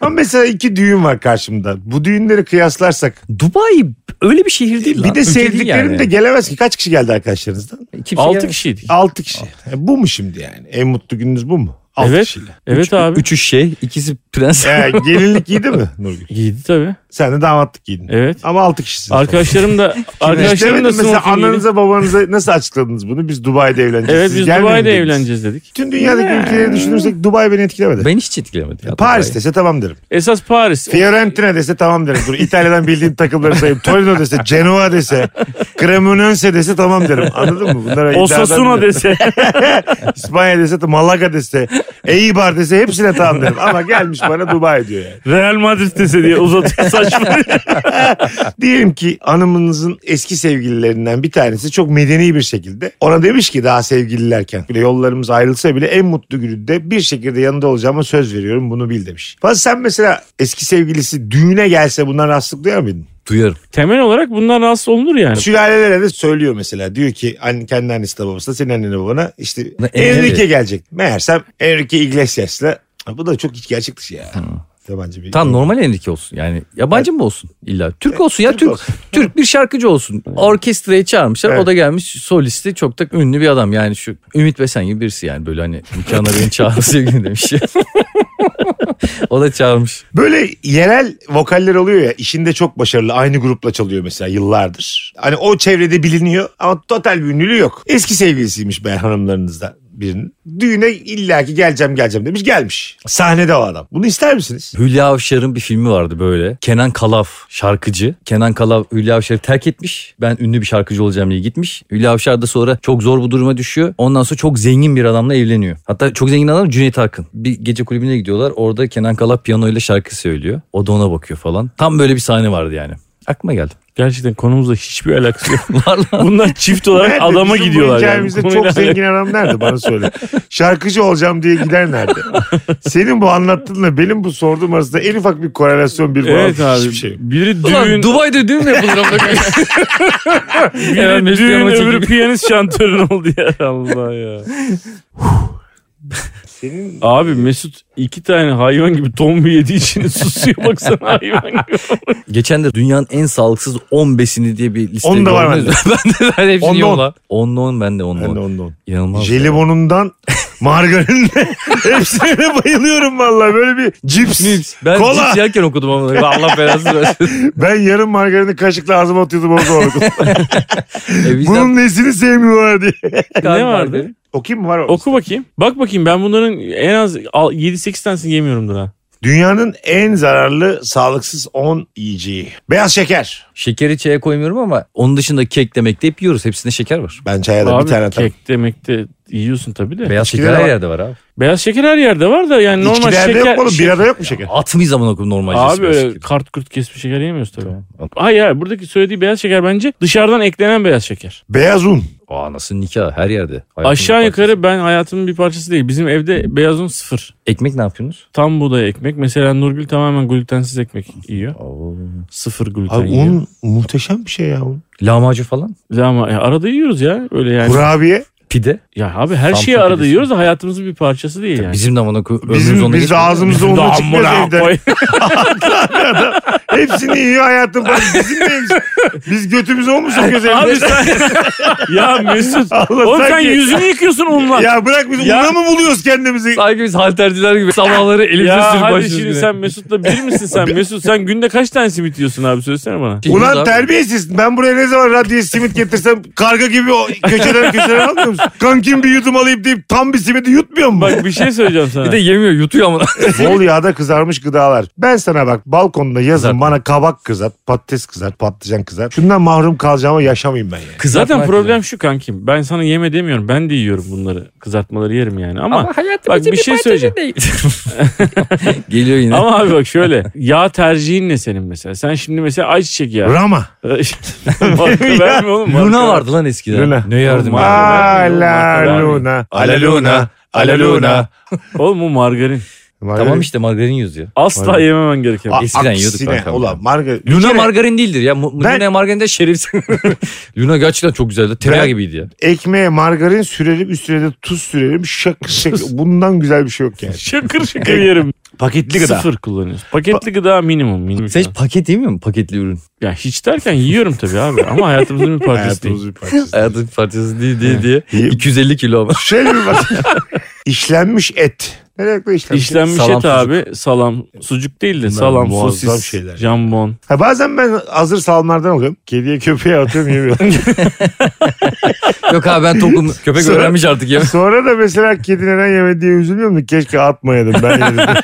Speaker 1: Ama mesela iki düğün var karşımda. Bu düğünleri kıyaslarsak.
Speaker 3: Dubai öyle bir şehir değil lan.
Speaker 1: Bir de
Speaker 3: Ülke değil
Speaker 1: sevdiklerim
Speaker 3: yani.
Speaker 1: de gelemez ki. Kaç kişi geldi arkadaşlarınızdan?
Speaker 3: Kimse
Speaker 2: 6
Speaker 3: gelmez.
Speaker 2: kişiydik.
Speaker 1: 6 kişi. E, Bu mu şimdi yani? En mutlu gününüz bu mu? 6
Speaker 2: Evet.
Speaker 1: kişiyle.
Speaker 2: Evet abi.
Speaker 3: Üçü şey, ikisi prens.
Speaker 1: E, gelinlik giydi mi Nurgül?
Speaker 2: Giydi tabii.
Speaker 1: Sen de damatlık giydin.
Speaker 2: Evet.
Speaker 1: Ama 6 kişisiniz.
Speaker 2: Arkadaşlarım da arkadaşlarım
Speaker 1: İstemedim
Speaker 2: da
Speaker 1: mesela
Speaker 2: smoking giydi.
Speaker 1: ananıza babanıza nasıl açıkladınız bunu? Biz Dubai'de evleneceğiz.
Speaker 2: Evet
Speaker 1: Siz
Speaker 2: biz
Speaker 1: gelmeyin
Speaker 2: Dubai'de
Speaker 1: dediniz.
Speaker 2: evleneceğiz dedik.
Speaker 1: Tüm dünyadaki ülkeleri düşünürsek Dubai beni etkilemedi.
Speaker 3: ben hiç etkilemedim. ya
Speaker 1: Paris
Speaker 3: Dubai'yi.
Speaker 1: dese tamam derim.
Speaker 2: Esas Paris.
Speaker 1: Fiorentina dese tamam derim. Dur İtalya'dan bildiğim takımları sayayım. Torino dese, Genoa dese, Cremonense dese tamam derim. Anladın mı? Bunlara
Speaker 2: Osasuna
Speaker 1: iddiadan-
Speaker 2: dese.
Speaker 1: İspanya dese, Malaga dese, Eibar dese hepsine tamam derim. Ama gelmiş bana Dubai diyor yani.
Speaker 2: Real Madrid dese diye uzatıyor saçma.
Speaker 1: Diyelim ki hanımınızın eski sevgililerinden bir tanesi çok medeni bir şekilde ona demiş ki daha sevgililerken bile yollarımız ayrılsa bile en mutlu gününde bir şekilde yanında olacağıma söz veriyorum bunu bil demiş. Fazla sen mesela eski sevgilisi düğüne gelse bundan rahatsızlık duyar mıydın?
Speaker 3: Duyarım.
Speaker 2: Temel olarak bundan rahatsız olunur yani.
Speaker 1: Sülalelere de söylüyor mesela. Diyor ki anne, kendi annesi de babası da senin annene babana işte
Speaker 3: Ne-
Speaker 1: Enrique
Speaker 3: Enrique.
Speaker 1: gelecek. Meğersem Enrique Iglesias'la bu da çok hiç gerçek dışı ya. Yabancı bir.
Speaker 3: Tam normal Enrique olsun. Yani yabancı mı olsun illa? Türk olsun ya
Speaker 1: Türk
Speaker 3: Türk.
Speaker 1: olsun.
Speaker 3: Türk bir şarkıcı olsun. Orkestraya çağırmışlar.
Speaker 1: Evet.
Speaker 3: O da gelmiş solisti çok da ünlü bir adam. Yani şu Ümit Besen gibi birisi yani böyle hani nikahına beni çağır sevgilim demiş. o da çağırmış.
Speaker 1: Böyle yerel vokaller oluyor ya işinde çok başarılı aynı grupla çalıyor mesela yıllardır. Hani o çevrede biliniyor ama total bir ünlülüğü yok. Eski sevgilisiymiş ben hanımlarınızdan birinin. Düğüne illaki geleceğim geleceğim demiş gelmiş. Sahnede o adam. Bunu ister misiniz?
Speaker 3: Hülya Avşar'ın bir filmi vardı böyle. Kenan Kalaf şarkıcı. Kenan Kalaf Hülya Avşar'ı terk etmiş. Ben ünlü bir şarkıcı olacağım diye gitmiş. Hülya Avşar da sonra çok zor bu duruma düşüyor. Ondan sonra çok zengin bir adamla evleniyor. Hatta çok zengin adam Cüneyt Arkın. Bir gece kulübüne gidiyorlar. Orada Kenan Kalaf piyanoyla şarkı söylüyor. O da ona bakıyor falan. Tam böyle bir sahne vardı yani. Aklıma geldi.
Speaker 2: Gerçekten konumuzla hiçbir alakası yok.
Speaker 3: Var lan.
Speaker 2: Bunlar çift olarak
Speaker 1: Nerede?
Speaker 2: adama
Speaker 1: Bizim bu
Speaker 2: gidiyorlar. Yani.
Speaker 1: hikayemizde
Speaker 2: Bu
Speaker 1: çok
Speaker 2: konuyla
Speaker 1: zengin adam nerede bana söyle. Şarkıcı olacağım diye gider nerede? Senin bu anlattığınla benim bu sorduğum arasında en ufak bir korelasyon bir
Speaker 2: Evet
Speaker 1: bağlantı,
Speaker 2: abi.
Speaker 1: hiçbir şey. yok.
Speaker 2: Biri düğün,
Speaker 3: Ulan Dubai'de düğün mü yapılır? amına koyayım? Hemen
Speaker 2: biri
Speaker 3: Mesut
Speaker 2: düğün
Speaker 3: Yanal'a
Speaker 2: öbürü
Speaker 3: çekeyim.
Speaker 2: piyanist şantörün oldu ya. Allah ya.
Speaker 1: Senin
Speaker 2: Abi Mesut iki tane hayvan gibi tombi yediği için susuyor baksana hayvan gibi.
Speaker 3: Geçen de dünyanın en sağlıksız 15'ini diye bir liste
Speaker 1: Onu da var
Speaker 3: gördünüz mü? ben de ben hepsini
Speaker 1: Onda on.
Speaker 3: yiyorum lan. 10'da 10 ben de 10'da
Speaker 1: ben de
Speaker 3: 10.
Speaker 1: ondan.
Speaker 3: İnanılmaz. ya.
Speaker 1: Jelibonundan margarinle hepsine de bayılıyorum vallahi böyle bir cips.
Speaker 3: Cips. Ben
Speaker 1: Kola.
Speaker 3: cips yerken okudum ama. Allah belasını versin.
Speaker 1: Ben yarım margarini kaşıkla ağzıma atıyordum orada orada.
Speaker 3: E, bizden
Speaker 1: Bunun nesini sevmiyorlar diye.
Speaker 3: kan
Speaker 2: ne
Speaker 3: vardı?
Speaker 2: vardı?
Speaker 1: Okuyayım mı var o?
Speaker 2: Oku bakayım. Bak bakayım ben bunların en az al- 7-8 tanesini yemiyorumdur ha.
Speaker 1: Dünyanın en zararlı sağlıksız 10 yiyeceği. Beyaz şeker.
Speaker 3: Şekeri çaya koymuyorum ama onun dışında kek demek de hep yiyoruz. Hepsinde şeker var.
Speaker 1: Ben çaya da
Speaker 2: Abi
Speaker 1: bir tane
Speaker 2: kek
Speaker 1: atarım.
Speaker 2: demek de yiyorsun tabii de.
Speaker 3: Beyaz
Speaker 1: İçkide
Speaker 3: şeker
Speaker 1: de var.
Speaker 3: her yerde var abi.
Speaker 2: Beyaz şeker her yerde var da yani normal
Speaker 1: İçkilerde
Speaker 2: şeker.
Speaker 1: yok mu oğlum? Birada yok mu şeker?
Speaker 3: Atmayız zaman okudum normalce.
Speaker 2: Abi
Speaker 3: beyaz
Speaker 2: öyle
Speaker 3: şekeri.
Speaker 2: kart kurt kesmiş şeker yemiyoruz tabii.
Speaker 3: Tamam.
Speaker 2: Hayır hayır buradaki söylediği beyaz şeker bence dışarıdan eklenen beyaz şeker.
Speaker 1: Beyaz un.
Speaker 3: Aa nasıl nikah her yerde. Hayatın
Speaker 2: Aşağı
Speaker 3: bir
Speaker 2: yukarı ben hayatımın bir parçası değil. Bizim evde beyaz un sıfır.
Speaker 3: parçası. Ekmek ne yapıyorsunuz?
Speaker 2: Tam buğday ekmek. Mesela Nurgül tamamen glutensiz ekmek yiyor.
Speaker 3: Oo.
Speaker 2: Sıfır gluten
Speaker 1: Abi
Speaker 2: yiyor.
Speaker 1: un muhteşem bir şey ya un.
Speaker 3: Lahmacun falan.
Speaker 2: Ama ya arada yiyoruz ya. Öyle yani.
Speaker 1: Kurabiye.
Speaker 3: Pide.
Speaker 2: Ya abi her
Speaker 3: Samsun
Speaker 2: şeyi arada
Speaker 3: pidesi.
Speaker 2: yiyoruz da hayatımızın bir parçası değil yani.
Speaker 3: Bizim de amına koyayım. ömrümüz
Speaker 1: Bizim,
Speaker 3: onda
Speaker 1: biz de
Speaker 3: geçmiyor.
Speaker 1: ağzımızda unla çıkmıyoruz
Speaker 2: Amına
Speaker 1: evden.
Speaker 2: koy.
Speaker 1: Hepsini yiyor hayatım. Bak Bizim neyimiz? Biz götümüzü o mu sokuyoruz
Speaker 2: Abi
Speaker 1: evde?
Speaker 2: sen... ya Mesut.
Speaker 1: Allah
Speaker 2: Oğlum sen
Speaker 1: sanki-
Speaker 2: yüzünü yıkıyorsun onunla. Ya,
Speaker 1: Ya bırak biz
Speaker 2: Ya.
Speaker 1: una mı buluyoruz kendimizi?
Speaker 3: Sanki biz halterciler gibi sabahları elimize sürüp
Speaker 2: hadi
Speaker 3: başlıyoruz
Speaker 2: şimdi
Speaker 3: güne.
Speaker 2: sen Mesut'la bir misin sen? Mesut sen günde kaç tane simit yiyorsun abi söylesene bana.
Speaker 3: Şeyimiz
Speaker 1: Ulan
Speaker 3: abi,
Speaker 1: terbiyesiz. Ben buraya ne zaman radyoya simit getirsem karga gibi o köşeden köşeden almıyor musun? Kankim bir yudum alayım deyip tam bir simidi yutmuyor mu?
Speaker 2: Bak bir şey söyleyeceğim sana.
Speaker 3: Bir de yemiyor yutuyor amına.
Speaker 1: Bol yağda kızarmış gıdalar. Ben sana bak balkonda yazın
Speaker 3: Kızartma.
Speaker 1: bana kabak kızart, patates kızart, patlıcan kızart. Şundan mahrum kalacağıma yaşamayayım ben yani.
Speaker 3: Kızartma
Speaker 2: Zaten
Speaker 3: hakkı
Speaker 2: problem şu kankim. Ben sana yeme demiyorum. Ben de yiyorum bunları. Kızartmaları yerim yani ama. Ama, bak, bir şey söyleyeceğim.
Speaker 3: Geliyor yine.
Speaker 2: abi bak şöyle. Yağ tercihin ne senin mesela? Sen şimdi mesela ayçiçek yağı.
Speaker 1: Rama.
Speaker 2: Marka verme oğlum. marka
Speaker 3: Luna
Speaker 2: ver.
Speaker 3: vardı lan eskiden.
Speaker 1: Luna.
Speaker 3: Ne yardım
Speaker 2: Oğlum,
Speaker 3: ya.
Speaker 1: Ala
Speaker 2: Marka
Speaker 1: luna. Ala luna. Ala luna.
Speaker 2: Oğlum bu margarin.
Speaker 3: Tamam işte margarin Ah. yazıyor.
Speaker 2: Asla
Speaker 1: Margarin.
Speaker 2: yememen gereken.
Speaker 1: A-
Speaker 2: bir-
Speaker 3: Eskiden yiyorduk
Speaker 1: aksine,
Speaker 3: ben kanka.
Speaker 1: Ulan margarin. Bir
Speaker 3: Luna
Speaker 1: kere
Speaker 3: margarin değildir ya. Mu-
Speaker 1: Ben-
Speaker 3: Luna margarin de şerefsiz. Luna gerçekten çok güzeldi. Tereyağı
Speaker 1: Ben-
Speaker 3: gibiydi ya.
Speaker 1: Ekmeğe margarin sürelim üstüne de tuz sürelim. Şak şak. Bundan güzel bir şey yok yani.
Speaker 2: Şakır şakır yerim.
Speaker 1: Paketli
Speaker 2: Sıfır kullanıyorsun. Paketli gıda minimum. minimum.
Speaker 3: Sen hiç paket yemiyor musun? Paketli ürün.
Speaker 2: Ya hiç derken yiyorum tabii abi ama hayatımızın bir parçası değil.
Speaker 1: Hayatımız bir parçası.
Speaker 3: Hayatın parçası değil diye diye. 250 kilo ama.
Speaker 1: Şöyle bir bak. Şey İşlenmiş et. Ne demek bu işlenmiş? et?
Speaker 2: İşlenmiş
Speaker 3: Salam,
Speaker 2: et
Speaker 3: sucuk.
Speaker 2: abi salam sucuk değil de salam
Speaker 1: muazzam
Speaker 2: sosis
Speaker 1: şeyler.
Speaker 2: jambon.
Speaker 1: Ha, bazen ben hazır salamlardan alıyorum. Kediye köpeğe atıyorum yemiyorum.
Speaker 3: Yok abi ben tokum. Köpek
Speaker 1: Sonra-
Speaker 3: öğrenmiş artık ya.
Speaker 1: Sonra da mesela kedi neden yemedi diye üzülüyorum da keşke atmayaydım ben yedim.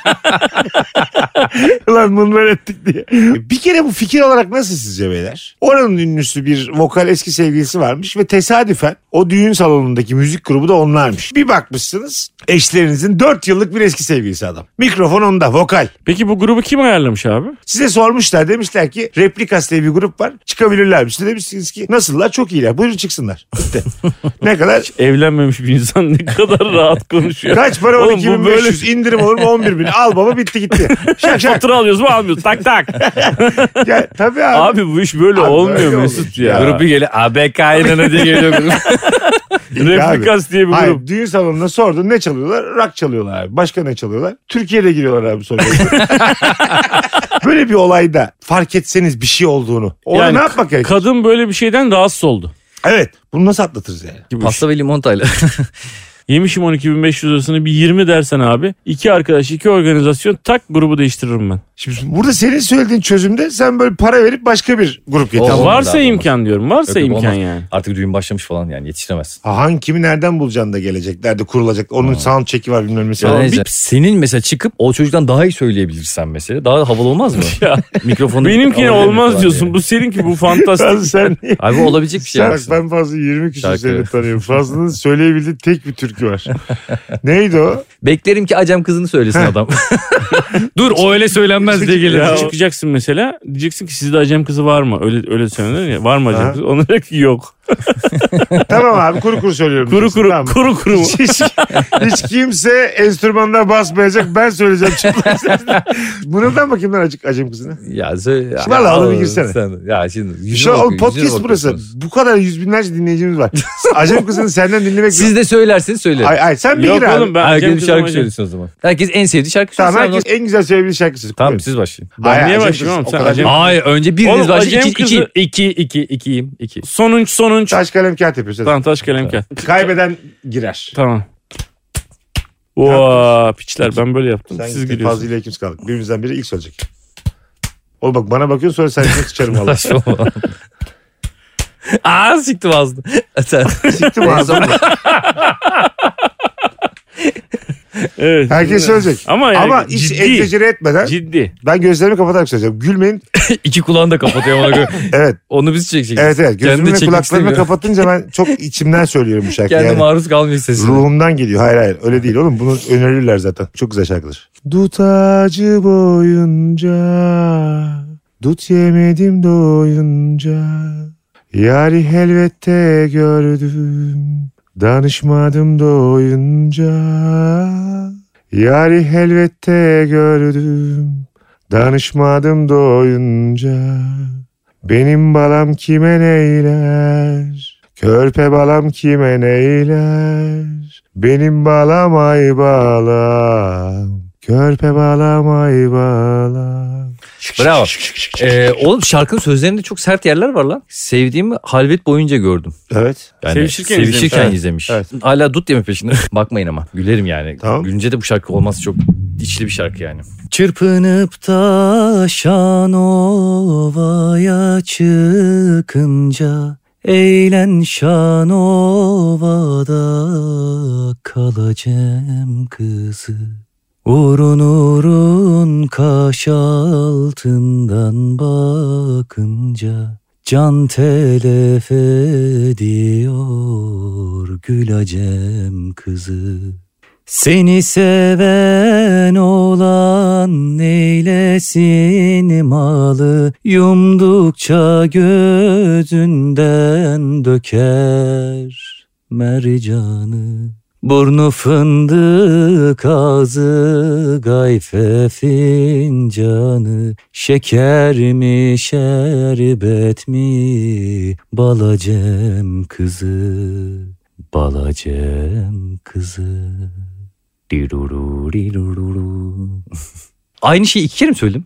Speaker 1: Ulan bunlar ettik diye. Bir kere bu fikir olarak nasıl sizce beyler? Oranın ünlüsü bir vokal eski sevgilisi varmış ve tesadüfen o düğün salonundaki müzik grubu da onlarmış. Bir bakmışsınız eşlerinizin 4 yıllık bir eski sevgilisi adam. Mikrofon onda vokal.
Speaker 2: Peki bu grubu kim ayarlamış abi?
Speaker 1: Size sormuşlar demişler ki Replikas diye bir grup var çıkabilirler mi? Siz de demişsiniz ki nasıllar çok iyiler buyurun çıksınlar. Bitti. ne kadar?
Speaker 2: Evlenmemiş bir insan ne kadar rahat konuşuyor.
Speaker 1: Kaç para
Speaker 2: Oğlum bu
Speaker 1: 12500 indirim olur mu 11 bin al baba bitti gitti. Şak şak.
Speaker 2: Fatura alıyoruz mu almıyoruz tak tak.
Speaker 1: Ya, tabii abi.
Speaker 2: Abi bu iş böyle
Speaker 1: Abi
Speaker 2: olmuyor
Speaker 1: öyle
Speaker 2: Mesut
Speaker 1: olur.
Speaker 2: ya.
Speaker 1: Ya.
Speaker 3: Grup bir geliyor. ABK inanı diye geliyor. grup.
Speaker 2: Replikas diye bir grup.
Speaker 1: Hayır düğün salonuna sordun ne çalıyorlar? Rock çalıyorlar abi. Başka ne çalıyorlar? Türkiye'de giriyorlar abi soruyor. Böyle bir olayda fark etseniz bir şey olduğunu. Orada
Speaker 2: Yani
Speaker 1: ne yapmak gerek?
Speaker 2: Kadın böyle bir şeyden rahatsız oldu.
Speaker 1: evet. Bunu nasıl atlatırız yani?
Speaker 2: Gibi. şey.
Speaker 3: Pasta ve limon tayla.
Speaker 2: Yemişim 12.500 lirasını bir 20 dersen abi. iki arkadaş iki organizasyon tak grubu değiştiririm ben.
Speaker 1: Şimdi burada senin söylediğin çözümde sen böyle para verip başka bir grup getir.
Speaker 3: Olmaz,
Speaker 2: varsa
Speaker 3: abi, olmaz.
Speaker 2: imkan diyorum. Varsa
Speaker 3: Yok, yok,
Speaker 2: imkan
Speaker 3: olmaz.
Speaker 2: yani.
Speaker 3: Artık düğün başlamış falan yani yetiştiremezsin.
Speaker 1: Ha, Hangi kimi nereden bulacaksın da gelecekler de kurulacak. Onun sound çeki var bilmem nesi var.
Speaker 3: Yani neyse, senin mesela çıkıp o çocuktan daha iyi söyleyebilirsen mesela. Daha havalı olmaz mı?
Speaker 2: Ya.
Speaker 3: Mikrofonu
Speaker 2: Benimkine
Speaker 3: Havalı
Speaker 2: olmaz
Speaker 3: falan
Speaker 2: diyorsun.
Speaker 3: diye.
Speaker 2: Bu seninki
Speaker 1: Sen,
Speaker 2: bu fantastik.
Speaker 1: sen
Speaker 3: Abi bu olabilecek bir şey
Speaker 1: Bak
Speaker 3: aslında.
Speaker 1: ben fazla 20 küsür
Speaker 3: Şarkı.
Speaker 1: seni tanıyorum. Fazla'nın söyleyebildiği tek bir türkü tepki var. Neydi o?
Speaker 3: Beklerim ki acem kızını söylesin adam. Dur o öyle söylenmez diye gelir.
Speaker 2: Ya çıkacaksın mesela. Diyeceksin ki sizde acem kızı var mı? Öyle öyle söylenir ya. Var mı acem
Speaker 1: Ha.
Speaker 2: kızı? Ona diyor ki yok.
Speaker 1: tamam abi kuru kuru söylüyorum.
Speaker 2: Kuru
Speaker 1: diyorsun,
Speaker 2: kuru
Speaker 1: tamam.
Speaker 2: kuru kuru mu?
Speaker 1: Hiç, hiç kimse enstrümanına basmayacak. Ben söyleyeceğim çıplak sesle. Mırıldan bakayım lan acık acım kızına.
Speaker 3: Ya söyle.
Speaker 1: Şimdi al, al bir
Speaker 3: Ya,
Speaker 1: girsene.
Speaker 3: sen- ya şimdi yüzüne
Speaker 1: Şu an
Speaker 3: bakıyor, yüzüne
Speaker 1: podcast burası.
Speaker 3: bakıyorsunuz.
Speaker 1: Bu kadar yüz binlerce dinleyicimiz var. Acım kızını senden dinlemek...
Speaker 3: Siz de söylerseniz söyleyin.
Speaker 1: Ay, ay, sen bir
Speaker 2: yok
Speaker 1: gir şey abi.
Speaker 2: oğlum ben acem
Speaker 3: Herkes bir
Speaker 2: kızım.
Speaker 3: şarkı
Speaker 2: acem-
Speaker 3: söylesin o zaman. Herkes en sevdiği şarkı söylesin.
Speaker 1: Tamam herkes en güzel söyleyebildiği şarkısı.
Speaker 3: Tamam siz başlayın.
Speaker 2: Ben
Speaker 1: Ay,
Speaker 2: niye
Speaker 1: acem
Speaker 2: başlayayım
Speaker 1: kız,
Speaker 2: oğlum?
Speaker 1: o
Speaker 2: Sen
Speaker 1: kadar-
Speaker 2: acem-
Speaker 3: Hayır önce biriniz
Speaker 2: Oğlum,
Speaker 3: başlayın.
Speaker 2: Acem
Speaker 3: İki,
Speaker 2: kızı-
Speaker 3: iki, iki, iki, ikiyim, iki.
Speaker 2: Sonunç sonunç.
Speaker 1: Taş kalem kağıt yapıyorsun.
Speaker 2: Tamam taş kalem gel.
Speaker 1: Kaybeden girer.
Speaker 2: Tamam. Vaa piçler ben böyle yaptım.
Speaker 1: Sen
Speaker 2: Siz
Speaker 1: gittin
Speaker 2: gülüyorsunuz.
Speaker 1: Fazlı ile ikimiz kaldık. Birimizden biri ilk söyleyecek. Oğlum bak bana bakıyorsun sonra sen seni sıçarım valla.
Speaker 3: Saçmalama. Aa siktim ağzını. Sen-
Speaker 1: Siktim ağzını.
Speaker 2: Evet.
Speaker 1: Herkes söyleyecek.
Speaker 2: Ama yani
Speaker 1: Ama hiç
Speaker 2: ciddi.
Speaker 1: egzecere etmeden
Speaker 2: Ciddi.
Speaker 1: ben gözlerimi kapatarak söyleyeceğim. Gülmeyin.
Speaker 3: İki kulağını da kapatıyor ona göre.
Speaker 1: Evet
Speaker 3: Onu biz çekeceğiz.
Speaker 1: evet evet.
Speaker 3: Kendi
Speaker 1: Gözümü ve
Speaker 3: çekmek
Speaker 1: kulaklarımı
Speaker 3: istemiyor.
Speaker 1: kapatınca ben çok içimden söylüyorum bu şarkıyı.
Speaker 3: Kendi
Speaker 1: Yani
Speaker 3: maruz kalmayacak sesine.
Speaker 1: ruhumdan geliyor. Hayır hayır öyle değil oğlum. Bunu önerirler zaten. Çok güzel şarkıdır. Dut ağacı boyunca Dut yemedim doyunca Yari helvette gördüm Danışmadım doyunca Yari helvette gördüm Danışmadım doyunca Benim balam kime neyler Körpe balam kime neyler Benim balam ay balam Körpe balam ay balam
Speaker 3: Bravo. Ee, oğlum şarkının sözlerinde çok sert yerler var lan. Sevdiğimi halvet boyunca gördüm.
Speaker 1: Evet.
Speaker 3: Yani
Speaker 2: Sevişirken
Speaker 3: sevişirken
Speaker 2: izlemiş.
Speaker 3: izlemiş.
Speaker 1: Evet.
Speaker 3: Hala dut yeme peşinde. Bakmayın ama gülerim yani.
Speaker 1: Tamam.
Speaker 3: Gülünce de bu şarkı olmaz çok içli bir şarkı yani. Çırpınıp taşan ovaya çıkınca Eğlen şan ovada kalacağım kızı. Urun urun kaş altından bakınca Can telef ediyor gül acem kızı. Seni seven olan neylesin malı Yumdukça gözünden döker mercanı Burnu fındık ağzı gayfe fincanı Şeker mi şerbet mi balacem kızı Balacem kızı Diruru, diruru. Aynı şeyi iki kere mi söyledim?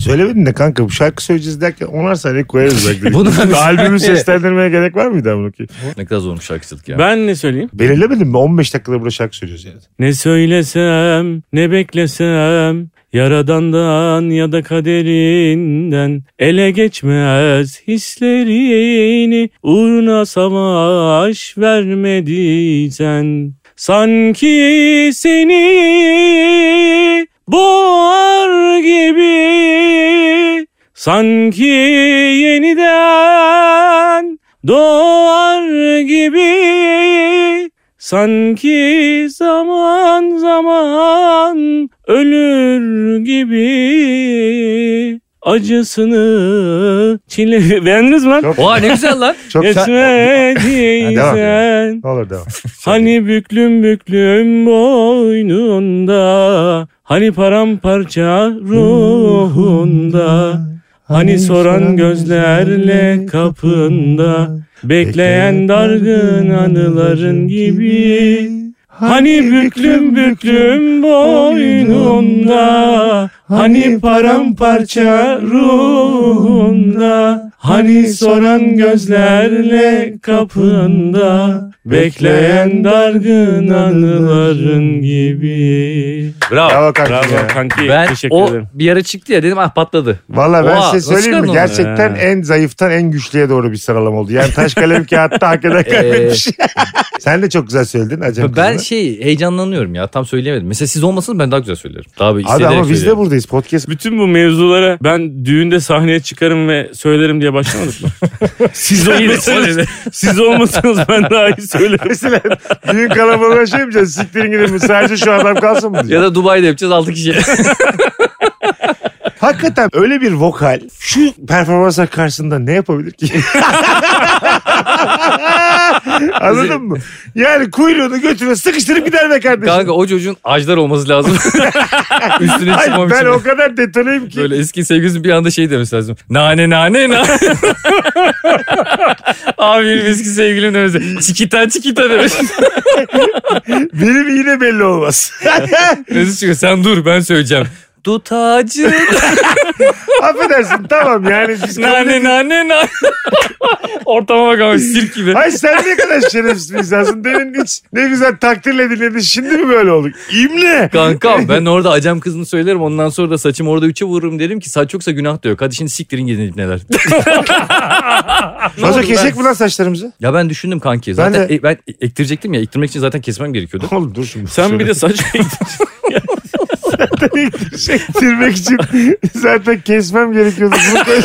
Speaker 1: Söylemedin de kanka bu şarkı söyleyeceğiz derken onar saniye koyarız belki.
Speaker 3: Bunu ben-
Speaker 1: Albümü seslendirmeye gerek var mıydı amına ki?
Speaker 3: Ne kadar zormuş şarkıcılık ya.
Speaker 2: Ben ne söyleyeyim?
Speaker 1: Belirlemedin mi? 15 dakikada burada şarkı söylüyoruz yani.
Speaker 2: Ne söylesem, ne beklesem, yaradandan ya da kaderinden ele geçmez hislerini uğruna savaş vermediysen. Sanki seni boğar gibi, sanki yeniden doğar gibi. Sanki zaman zaman ölür gibi acısını çile... Beğendiniz mi lan?
Speaker 1: Çok,
Speaker 3: Oha ne güzel lan.
Speaker 1: çok Ha, devam
Speaker 2: Geçmediysen
Speaker 1: Ne olur devam.
Speaker 2: Hani büklüm büklüm boynunda Hani paramparça ruhunda Hani soran gözlerle kapında Bekleyen dargın anıların gibi Hani büklüm büklüm boynunda Hani paramparça ruhunda Hani soran gözlerle kapında Bekleyen dargın anıların gibi
Speaker 3: Bravo.
Speaker 1: Bravo kanka.
Speaker 2: Bravo
Speaker 1: ya.
Speaker 2: kanki
Speaker 3: Ben
Speaker 2: teşekkür
Speaker 3: o
Speaker 2: ederim.
Speaker 3: bir ara çıktı ya dedim ah patladı.
Speaker 1: Valla ben
Speaker 3: Oha,
Speaker 1: size
Speaker 3: nasıl
Speaker 1: söyleyeyim mi?
Speaker 3: kandın onu?
Speaker 1: Gerçekten
Speaker 2: He.
Speaker 1: en zayıftan en güçlüye doğru bir sıralama oldu. Yani taş kalem kağıtta hak eden kaybetmiş. Sen de çok güzel söyledin Acem
Speaker 3: ben
Speaker 1: kızına.
Speaker 3: şey heyecanlanıyorum ya tam söyleyemedim. Mesela siz olmasanız ben daha güzel söylerim. Daha bir
Speaker 1: Abi
Speaker 3: hissederek
Speaker 1: ama biz de
Speaker 3: söylerim.
Speaker 1: buradayız yayındayız podcast.
Speaker 2: Bütün bu mevzulara ben düğünde sahneye çıkarım ve söylerim diye başlamadık mı? siz olmasanız, siz olmasanız ben daha iyi söylerim.
Speaker 1: Mesela düğün kalabalığına şey mi diyeceksin? Siktirin gidin sadece şu adam kalsın mı
Speaker 3: Ya
Speaker 1: diyeceksin?
Speaker 3: da Dubai'de yapacağız 6 kişi.
Speaker 1: Hakikaten öyle bir vokal şu performanslar karşısında ne yapabilir ki? Anladın mı? Yani kuyruğunu götüne sıkıştırıp gider be kardeşim.
Speaker 3: Kanka o çocuğun ajdar olması lazım. Üstüne
Speaker 1: Ay,
Speaker 3: çıkmam
Speaker 1: ben
Speaker 3: için.
Speaker 1: o kadar detoneyim ki.
Speaker 3: Böyle eski sevgilisi bir anda şey demiş lazım. Nane nane nane. Abi benim eski sevgilim demiş. Çikita çikita demiş.
Speaker 1: Benim yine belli olmaz.
Speaker 3: Mesut çıkıyor sen dur ben söyleyeceğim. Dutacı
Speaker 1: Affedersin tamam yani. Biz
Speaker 3: nane nane nane. Ortama bak ama sirk gibi.
Speaker 1: Ay sen ne kadar şerefsiz bir insansın. Demin hiç ne güzel takdirle dinledin. Şimdi mi böyle olduk? İmle.
Speaker 3: Kankam ben orada acem kızını söylerim ondan sonra da saçımı orada üçe vururum derim ki saç yoksa günah da yok. Hadi şimdi siktirin gidin neler.
Speaker 1: Fazla
Speaker 3: oldu
Speaker 1: kesek mi lan saçlarımızı?
Speaker 3: ya ben düşündüm kanki. Zaten e-
Speaker 1: de.
Speaker 3: ben, ektirecektim ya ektirmek için zaten kesmem gerekiyordu.
Speaker 1: Oğlum dur şimdi.
Speaker 2: Sen bir de saç
Speaker 1: Sektirmek Şey, için zaten kesmem gerekiyordu. Bunu koy-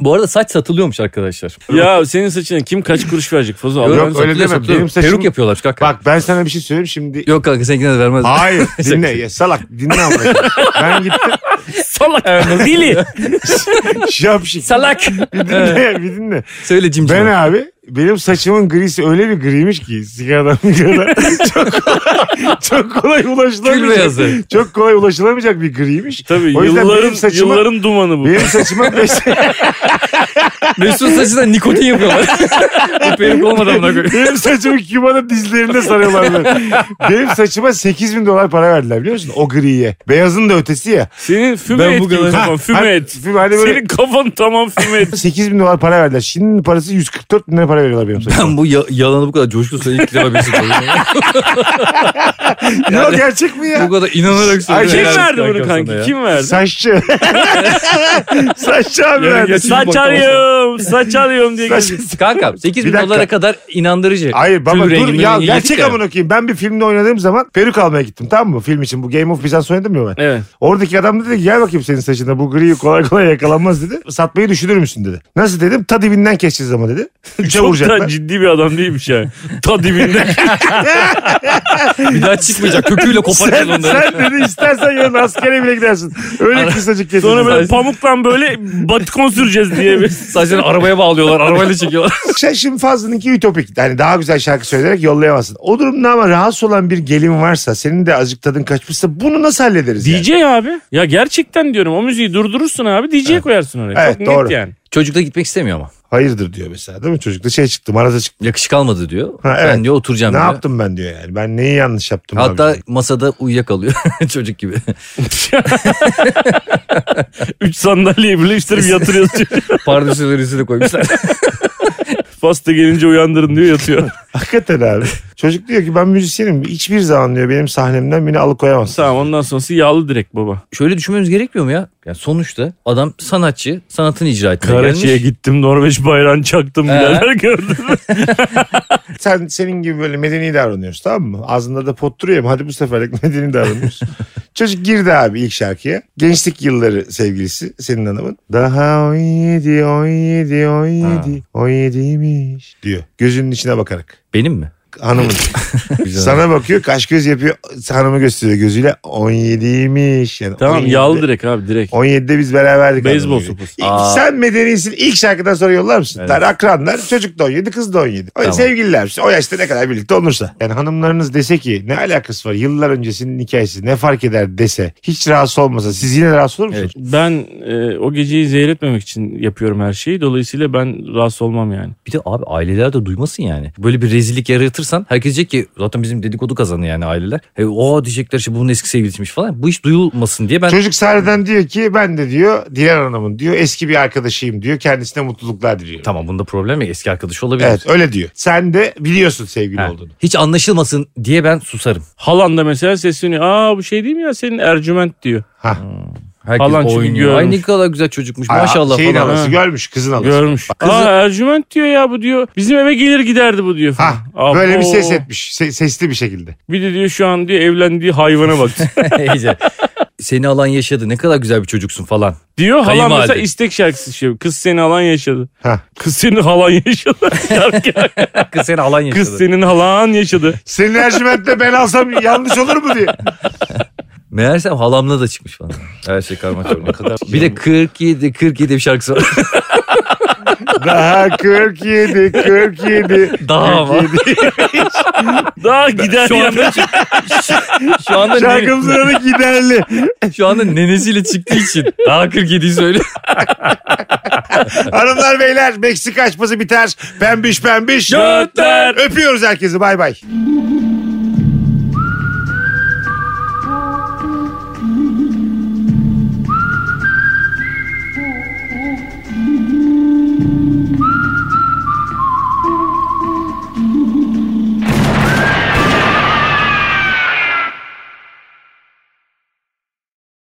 Speaker 3: Bu arada saç satılıyormuş arkadaşlar.
Speaker 2: ya senin saçına kim kaç kuruş verecek Fazla?
Speaker 1: Yok,
Speaker 2: Allah'ın
Speaker 1: öyle
Speaker 3: satılıyor,
Speaker 1: deme.
Speaker 3: satılıyor.
Speaker 1: Benim saçım-
Speaker 3: Peruk yapıyorlar kanka.
Speaker 1: Bak ben sana bir şey söyleyeyim şimdi.
Speaker 3: Yok kanka seninkine de vermez.
Speaker 1: Hayır dinle ya salak dinle ama. ben gittim
Speaker 3: Salak. Dili.
Speaker 1: şapşik.
Speaker 3: Salak.
Speaker 1: Bir dinle ya, bir dinle.
Speaker 3: Söyle cimcime.
Speaker 1: Ben abi benim saçımın grisi öyle bir griymiş ki sigaradan bir kadar. çok kolay, çok kolay
Speaker 3: Kül
Speaker 1: ulaşılamayacak.
Speaker 3: beyazı.
Speaker 1: Çok kolay ulaşılamayacak bir griymiş.
Speaker 2: Tabii
Speaker 1: O yüzden
Speaker 2: yılların,
Speaker 1: benim saçıma-
Speaker 2: yılların dumanı bu.
Speaker 1: Benim saçıma beş,
Speaker 3: Mesut saçına nikotin yapıyorlar. Bu peruk olmadan buna koyuyor.
Speaker 1: benim saçımı Küba'da dizlerinde sarıyorlar. böyle. benim saçıma 8 bin dolar para verdiler biliyor musun? O griye. Beyazın da ötesi ya.
Speaker 2: Senin füme
Speaker 3: Ben
Speaker 2: et
Speaker 3: bu
Speaker 2: gibi
Speaker 3: kadar-
Speaker 2: kafan.
Speaker 1: Ha,
Speaker 2: Füme et.
Speaker 1: Füme hani böyle
Speaker 2: Senin kafan tamam füme et.
Speaker 1: 8 bin dolar para verdiler. Şimdi parası 144 bin lira para veriyorlar benim saçıma.
Speaker 3: Ben bu ya- yalanı bu kadar coşkulu söyleyip ilk defa Mesut koyuyor.
Speaker 1: Yok gerçek mi ya?
Speaker 3: Bu kadar inanarak
Speaker 1: Ay, şey-
Speaker 3: söylüyor.
Speaker 2: Kim
Speaker 1: Helal
Speaker 2: verdi bunu
Speaker 3: şey
Speaker 2: kanki? Kim verdi?
Speaker 1: Saççı. Saççı abi
Speaker 3: Yarın
Speaker 1: verdi.
Speaker 3: geç-
Speaker 2: Saç
Speaker 3: Bakamadım.
Speaker 2: arıyorum, saç arıyorum diye
Speaker 1: Saç-
Speaker 2: geziyor.
Speaker 3: Kanka 8
Speaker 1: Bir
Speaker 3: bin
Speaker 1: dakika.
Speaker 3: dolara kadar inandırıcı.
Speaker 1: Hayır baba dur
Speaker 3: Tül rengi,
Speaker 1: ya
Speaker 3: rengi
Speaker 1: gerçek
Speaker 3: yedik ya.
Speaker 1: amına koyayım. Ben bir filmde oynadığım zaman peruk almaya gittim tamam mı? Film için bu Game of Bizans oynadım ya ben.
Speaker 2: Evet.
Speaker 1: Oradaki adam dedi ki gel bakayım senin saçında bu griyi kolay kolay yakalanmaz dedi. Satmayı düşünür müsün dedi. Nasıl dedim ta dibinden keseceğiz ama dedi. Üçe
Speaker 2: Çok da
Speaker 1: vuracaklar.
Speaker 2: ciddi bir adam değilmiş yani. Ta dibinde.
Speaker 3: Bir daha çıkmayacak. Köküyle
Speaker 2: şey
Speaker 3: koparacağız
Speaker 1: Sen,
Speaker 3: onları.
Speaker 1: sen dedi istersen yarın askere bile gidersin. Öyle kısacık kesin.
Speaker 2: Sonra böyle
Speaker 3: Saç-
Speaker 2: pamukla böyle batikon süreceğiz diye. bir-
Speaker 3: Saçlarını arabaya bağlıyorlar. Arabayla çekiyorlar.
Speaker 1: Sen şimdi Fazlı'nınki ütopik. Yani daha güzel şarkı söyleyerek yollayamazsın. O durumda ama rahatsız olan bir gelin varsa senin de azıcık tadın kaçmışsa bunu nasıl hallederiz yani?
Speaker 2: DJ abi. Ya gerçekten diyorum o müziği durdurursun abi DJ koyarsın oraya.
Speaker 1: Evet,
Speaker 2: Çok
Speaker 1: doğru.
Speaker 2: net yani.
Speaker 3: Çocuk da gitmek istemiyor ama.
Speaker 1: Hayırdır diyor mesela değil mi? Çocukta şey çıktı maraza çıktı.
Speaker 3: Yakışık almadı diyor.
Speaker 1: Ha, evet.
Speaker 3: Ben diyor oturacağım
Speaker 1: Ne
Speaker 3: diyor.
Speaker 1: yaptım ben diyor yani. Ben neyi yanlış yaptım
Speaker 3: Hatta
Speaker 1: abi?
Speaker 3: masada uyuyakalıyor çocuk gibi.
Speaker 2: Üç sandalyeyi birleştirip yatırıyorsun.
Speaker 3: Pardesüleri üstüne koymuşlar.
Speaker 2: Pasta gelince uyandırın diyor yatıyor.
Speaker 1: Hakikaten abi. Çocuk diyor ki ben müzisyenim. Hiçbir zaman diyor benim sahnemden beni alıkoyamazsın.
Speaker 2: tamam ondan sonrası yağlı direkt baba.
Speaker 3: Şöyle düşünmemiz gerekmiyor mu ya? Yani sonuçta adam sanatçı, sanatını icra etmeye
Speaker 2: Karaçi'ye
Speaker 3: gelmiş.
Speaker 2: gittim Norveç bayrağını çaktım neler gördüm.
Speaker 1: Sen senin gibi böyle medeni davranıyoruz tamam mı? Ağzında da pot duruyor ama hadi bu seferlik medeni davranıyoruz. Çocuk girdi abi ilk şarkıya. Gençlik yılları sevgilisi senin hanımın. Daha 17, 17, 17, 17'ymiş diyor. Gözünün içine bakarak.
Speaker 3: Benim mi?
Speaker 1: Hanımın. Sana bakıyor kaş göz yapıyor. Hanımı gösteriyor gözüyle. 17'ymiş. Yani
Speaker 2: Tamam
Speaker 1: 17'de
Speaker 2: yağlı direkt abi direkt.
Speaker 1: 17'de biz beraberdik.
Speaker 2: Beyzbol
Speaker 1: anlamına geliyor.
Speaker 2: sopası.
Speaker 1: İlk-
Speaker 3: Aa.
Speaker 1: Sen medenisin ilk şarkıdan sonra yollar mısın? Der akranlar çocuk da 17 kız da 17. O
Speaker 3: Tamam.
Speaker 1: Sevgililer o yaşta ne kadar birlikte olursa. Yani hanımlarınız dese ki ne alakası var yıllar öncesinin hikayesi ne fark eder dese. Hiç rahatsız olmasa siz yine rahatsız olur musunuz?
Speaker 2: Ben e, o geceyi zehir etmemek için yapıyorum her şeyi. Dolayısıyla ben rahatsız olmam yani.
Speaker 3: Bir de abi aileler de duymasın yani. Böyle bir rezillik yaratırsan herkes diyecek ki zaten bizim dedikodu kazanı yani aileler. He, o diyecekler işte bunun eski sevgilisiymiş falan. Bu iş duyulmasın diye ben
Speaker 1: Çocuk sahneden diyor ki ben de diyor Dilan Hanım'ın diyor eski bir arkadaşıyım diyor kendisine mutluluklar diliyorum.
Speaker 3: Tamam bunda problem yok. Eski arkadaşı olabilir.
Speaker 1: Evet öyle diyor. Sen de biliyorsun sevgili
Speaker 3: Ha.
Speaker 1: olduğunu.
Speaker 3: Hiç anlaşılmasın diye ben susarım.
Speaker 2: Halan da mesela sesleniyor. Aa bu şey değil mi ya senin Ercüment diyor.
Speaker 1: Ha.
Speaker 3: Herkes
Speaker 2: Falan çünkü
Speaker 3: oynuyor.
Speaker 2: görmüş.
Speaker 3: Ay ne kadar güzel çocukmuş maşallah
Speaker 1: Şeyin
Speaker 3: falan.
Speaker 1: anası
Speaker 2: ha.
Speaker 1: görmüş kızın anası.
Speaker 2: Görmüş.
Speaker 1: Kızı-
Speaker 2: Aa Ercüment diyor ya bu diyor. Bizim eve gelir giderdi bu diyor.
Speaker 1: Ha,
Speaker 2: Falan. Aa,
Speaker 1: Ah, böyle bir
Speaker 2: oo.
Speaker 1: ses etmiş. Se- sesli bir şekilde.
Speaker 2: Bir de diyor şu an diyor evlendiği hayvana bak.
Speaker 3: İyice. seni alan yaşadı ne kadar güzel bir çocuksun falan.
Speaker 2: Diyor halam
Speaker 3: Kayınvalide.
Speaker 2: mesela istek şarkısı şey. Kız seni alan yaşadı.
Speaker 1: Hah.
Speaker 2: Kız senin halan yaşadı. Şarkı.
Speaker 3: Kız seni alan yaşadı.
Speaker 2: Kız senin halan yaşadı.
Speaker 1: Senin Ercüment'le ben alsam yanlış olur mu diye.
Speaker 3: Meğersem halamla da çıkmış falan. Her şey karma çorba. bir de 47 47 bir şarkısı var.
Speaker 1: Daha 47, 47.
Speaker 3: Daha ama.
Speaker 2: Daha gider
Speaker 3: Şu
Speaker 2: yani.
Speaker 3: anda, şu, şu anda,
Speaker 1: Şarkımızın
Speaker 3: ne-
Speaker 1: adı giderli.
Speaker 3: şu anda nenesiyle çıktığı için daha 47'yi söyle.
Speaker 1: Hanımlar beyler Meksika açması biter. Pembiş pembiş.
Speaker 2: Götler.
Speaker 1: Öpüyoruz herkesi bay bay.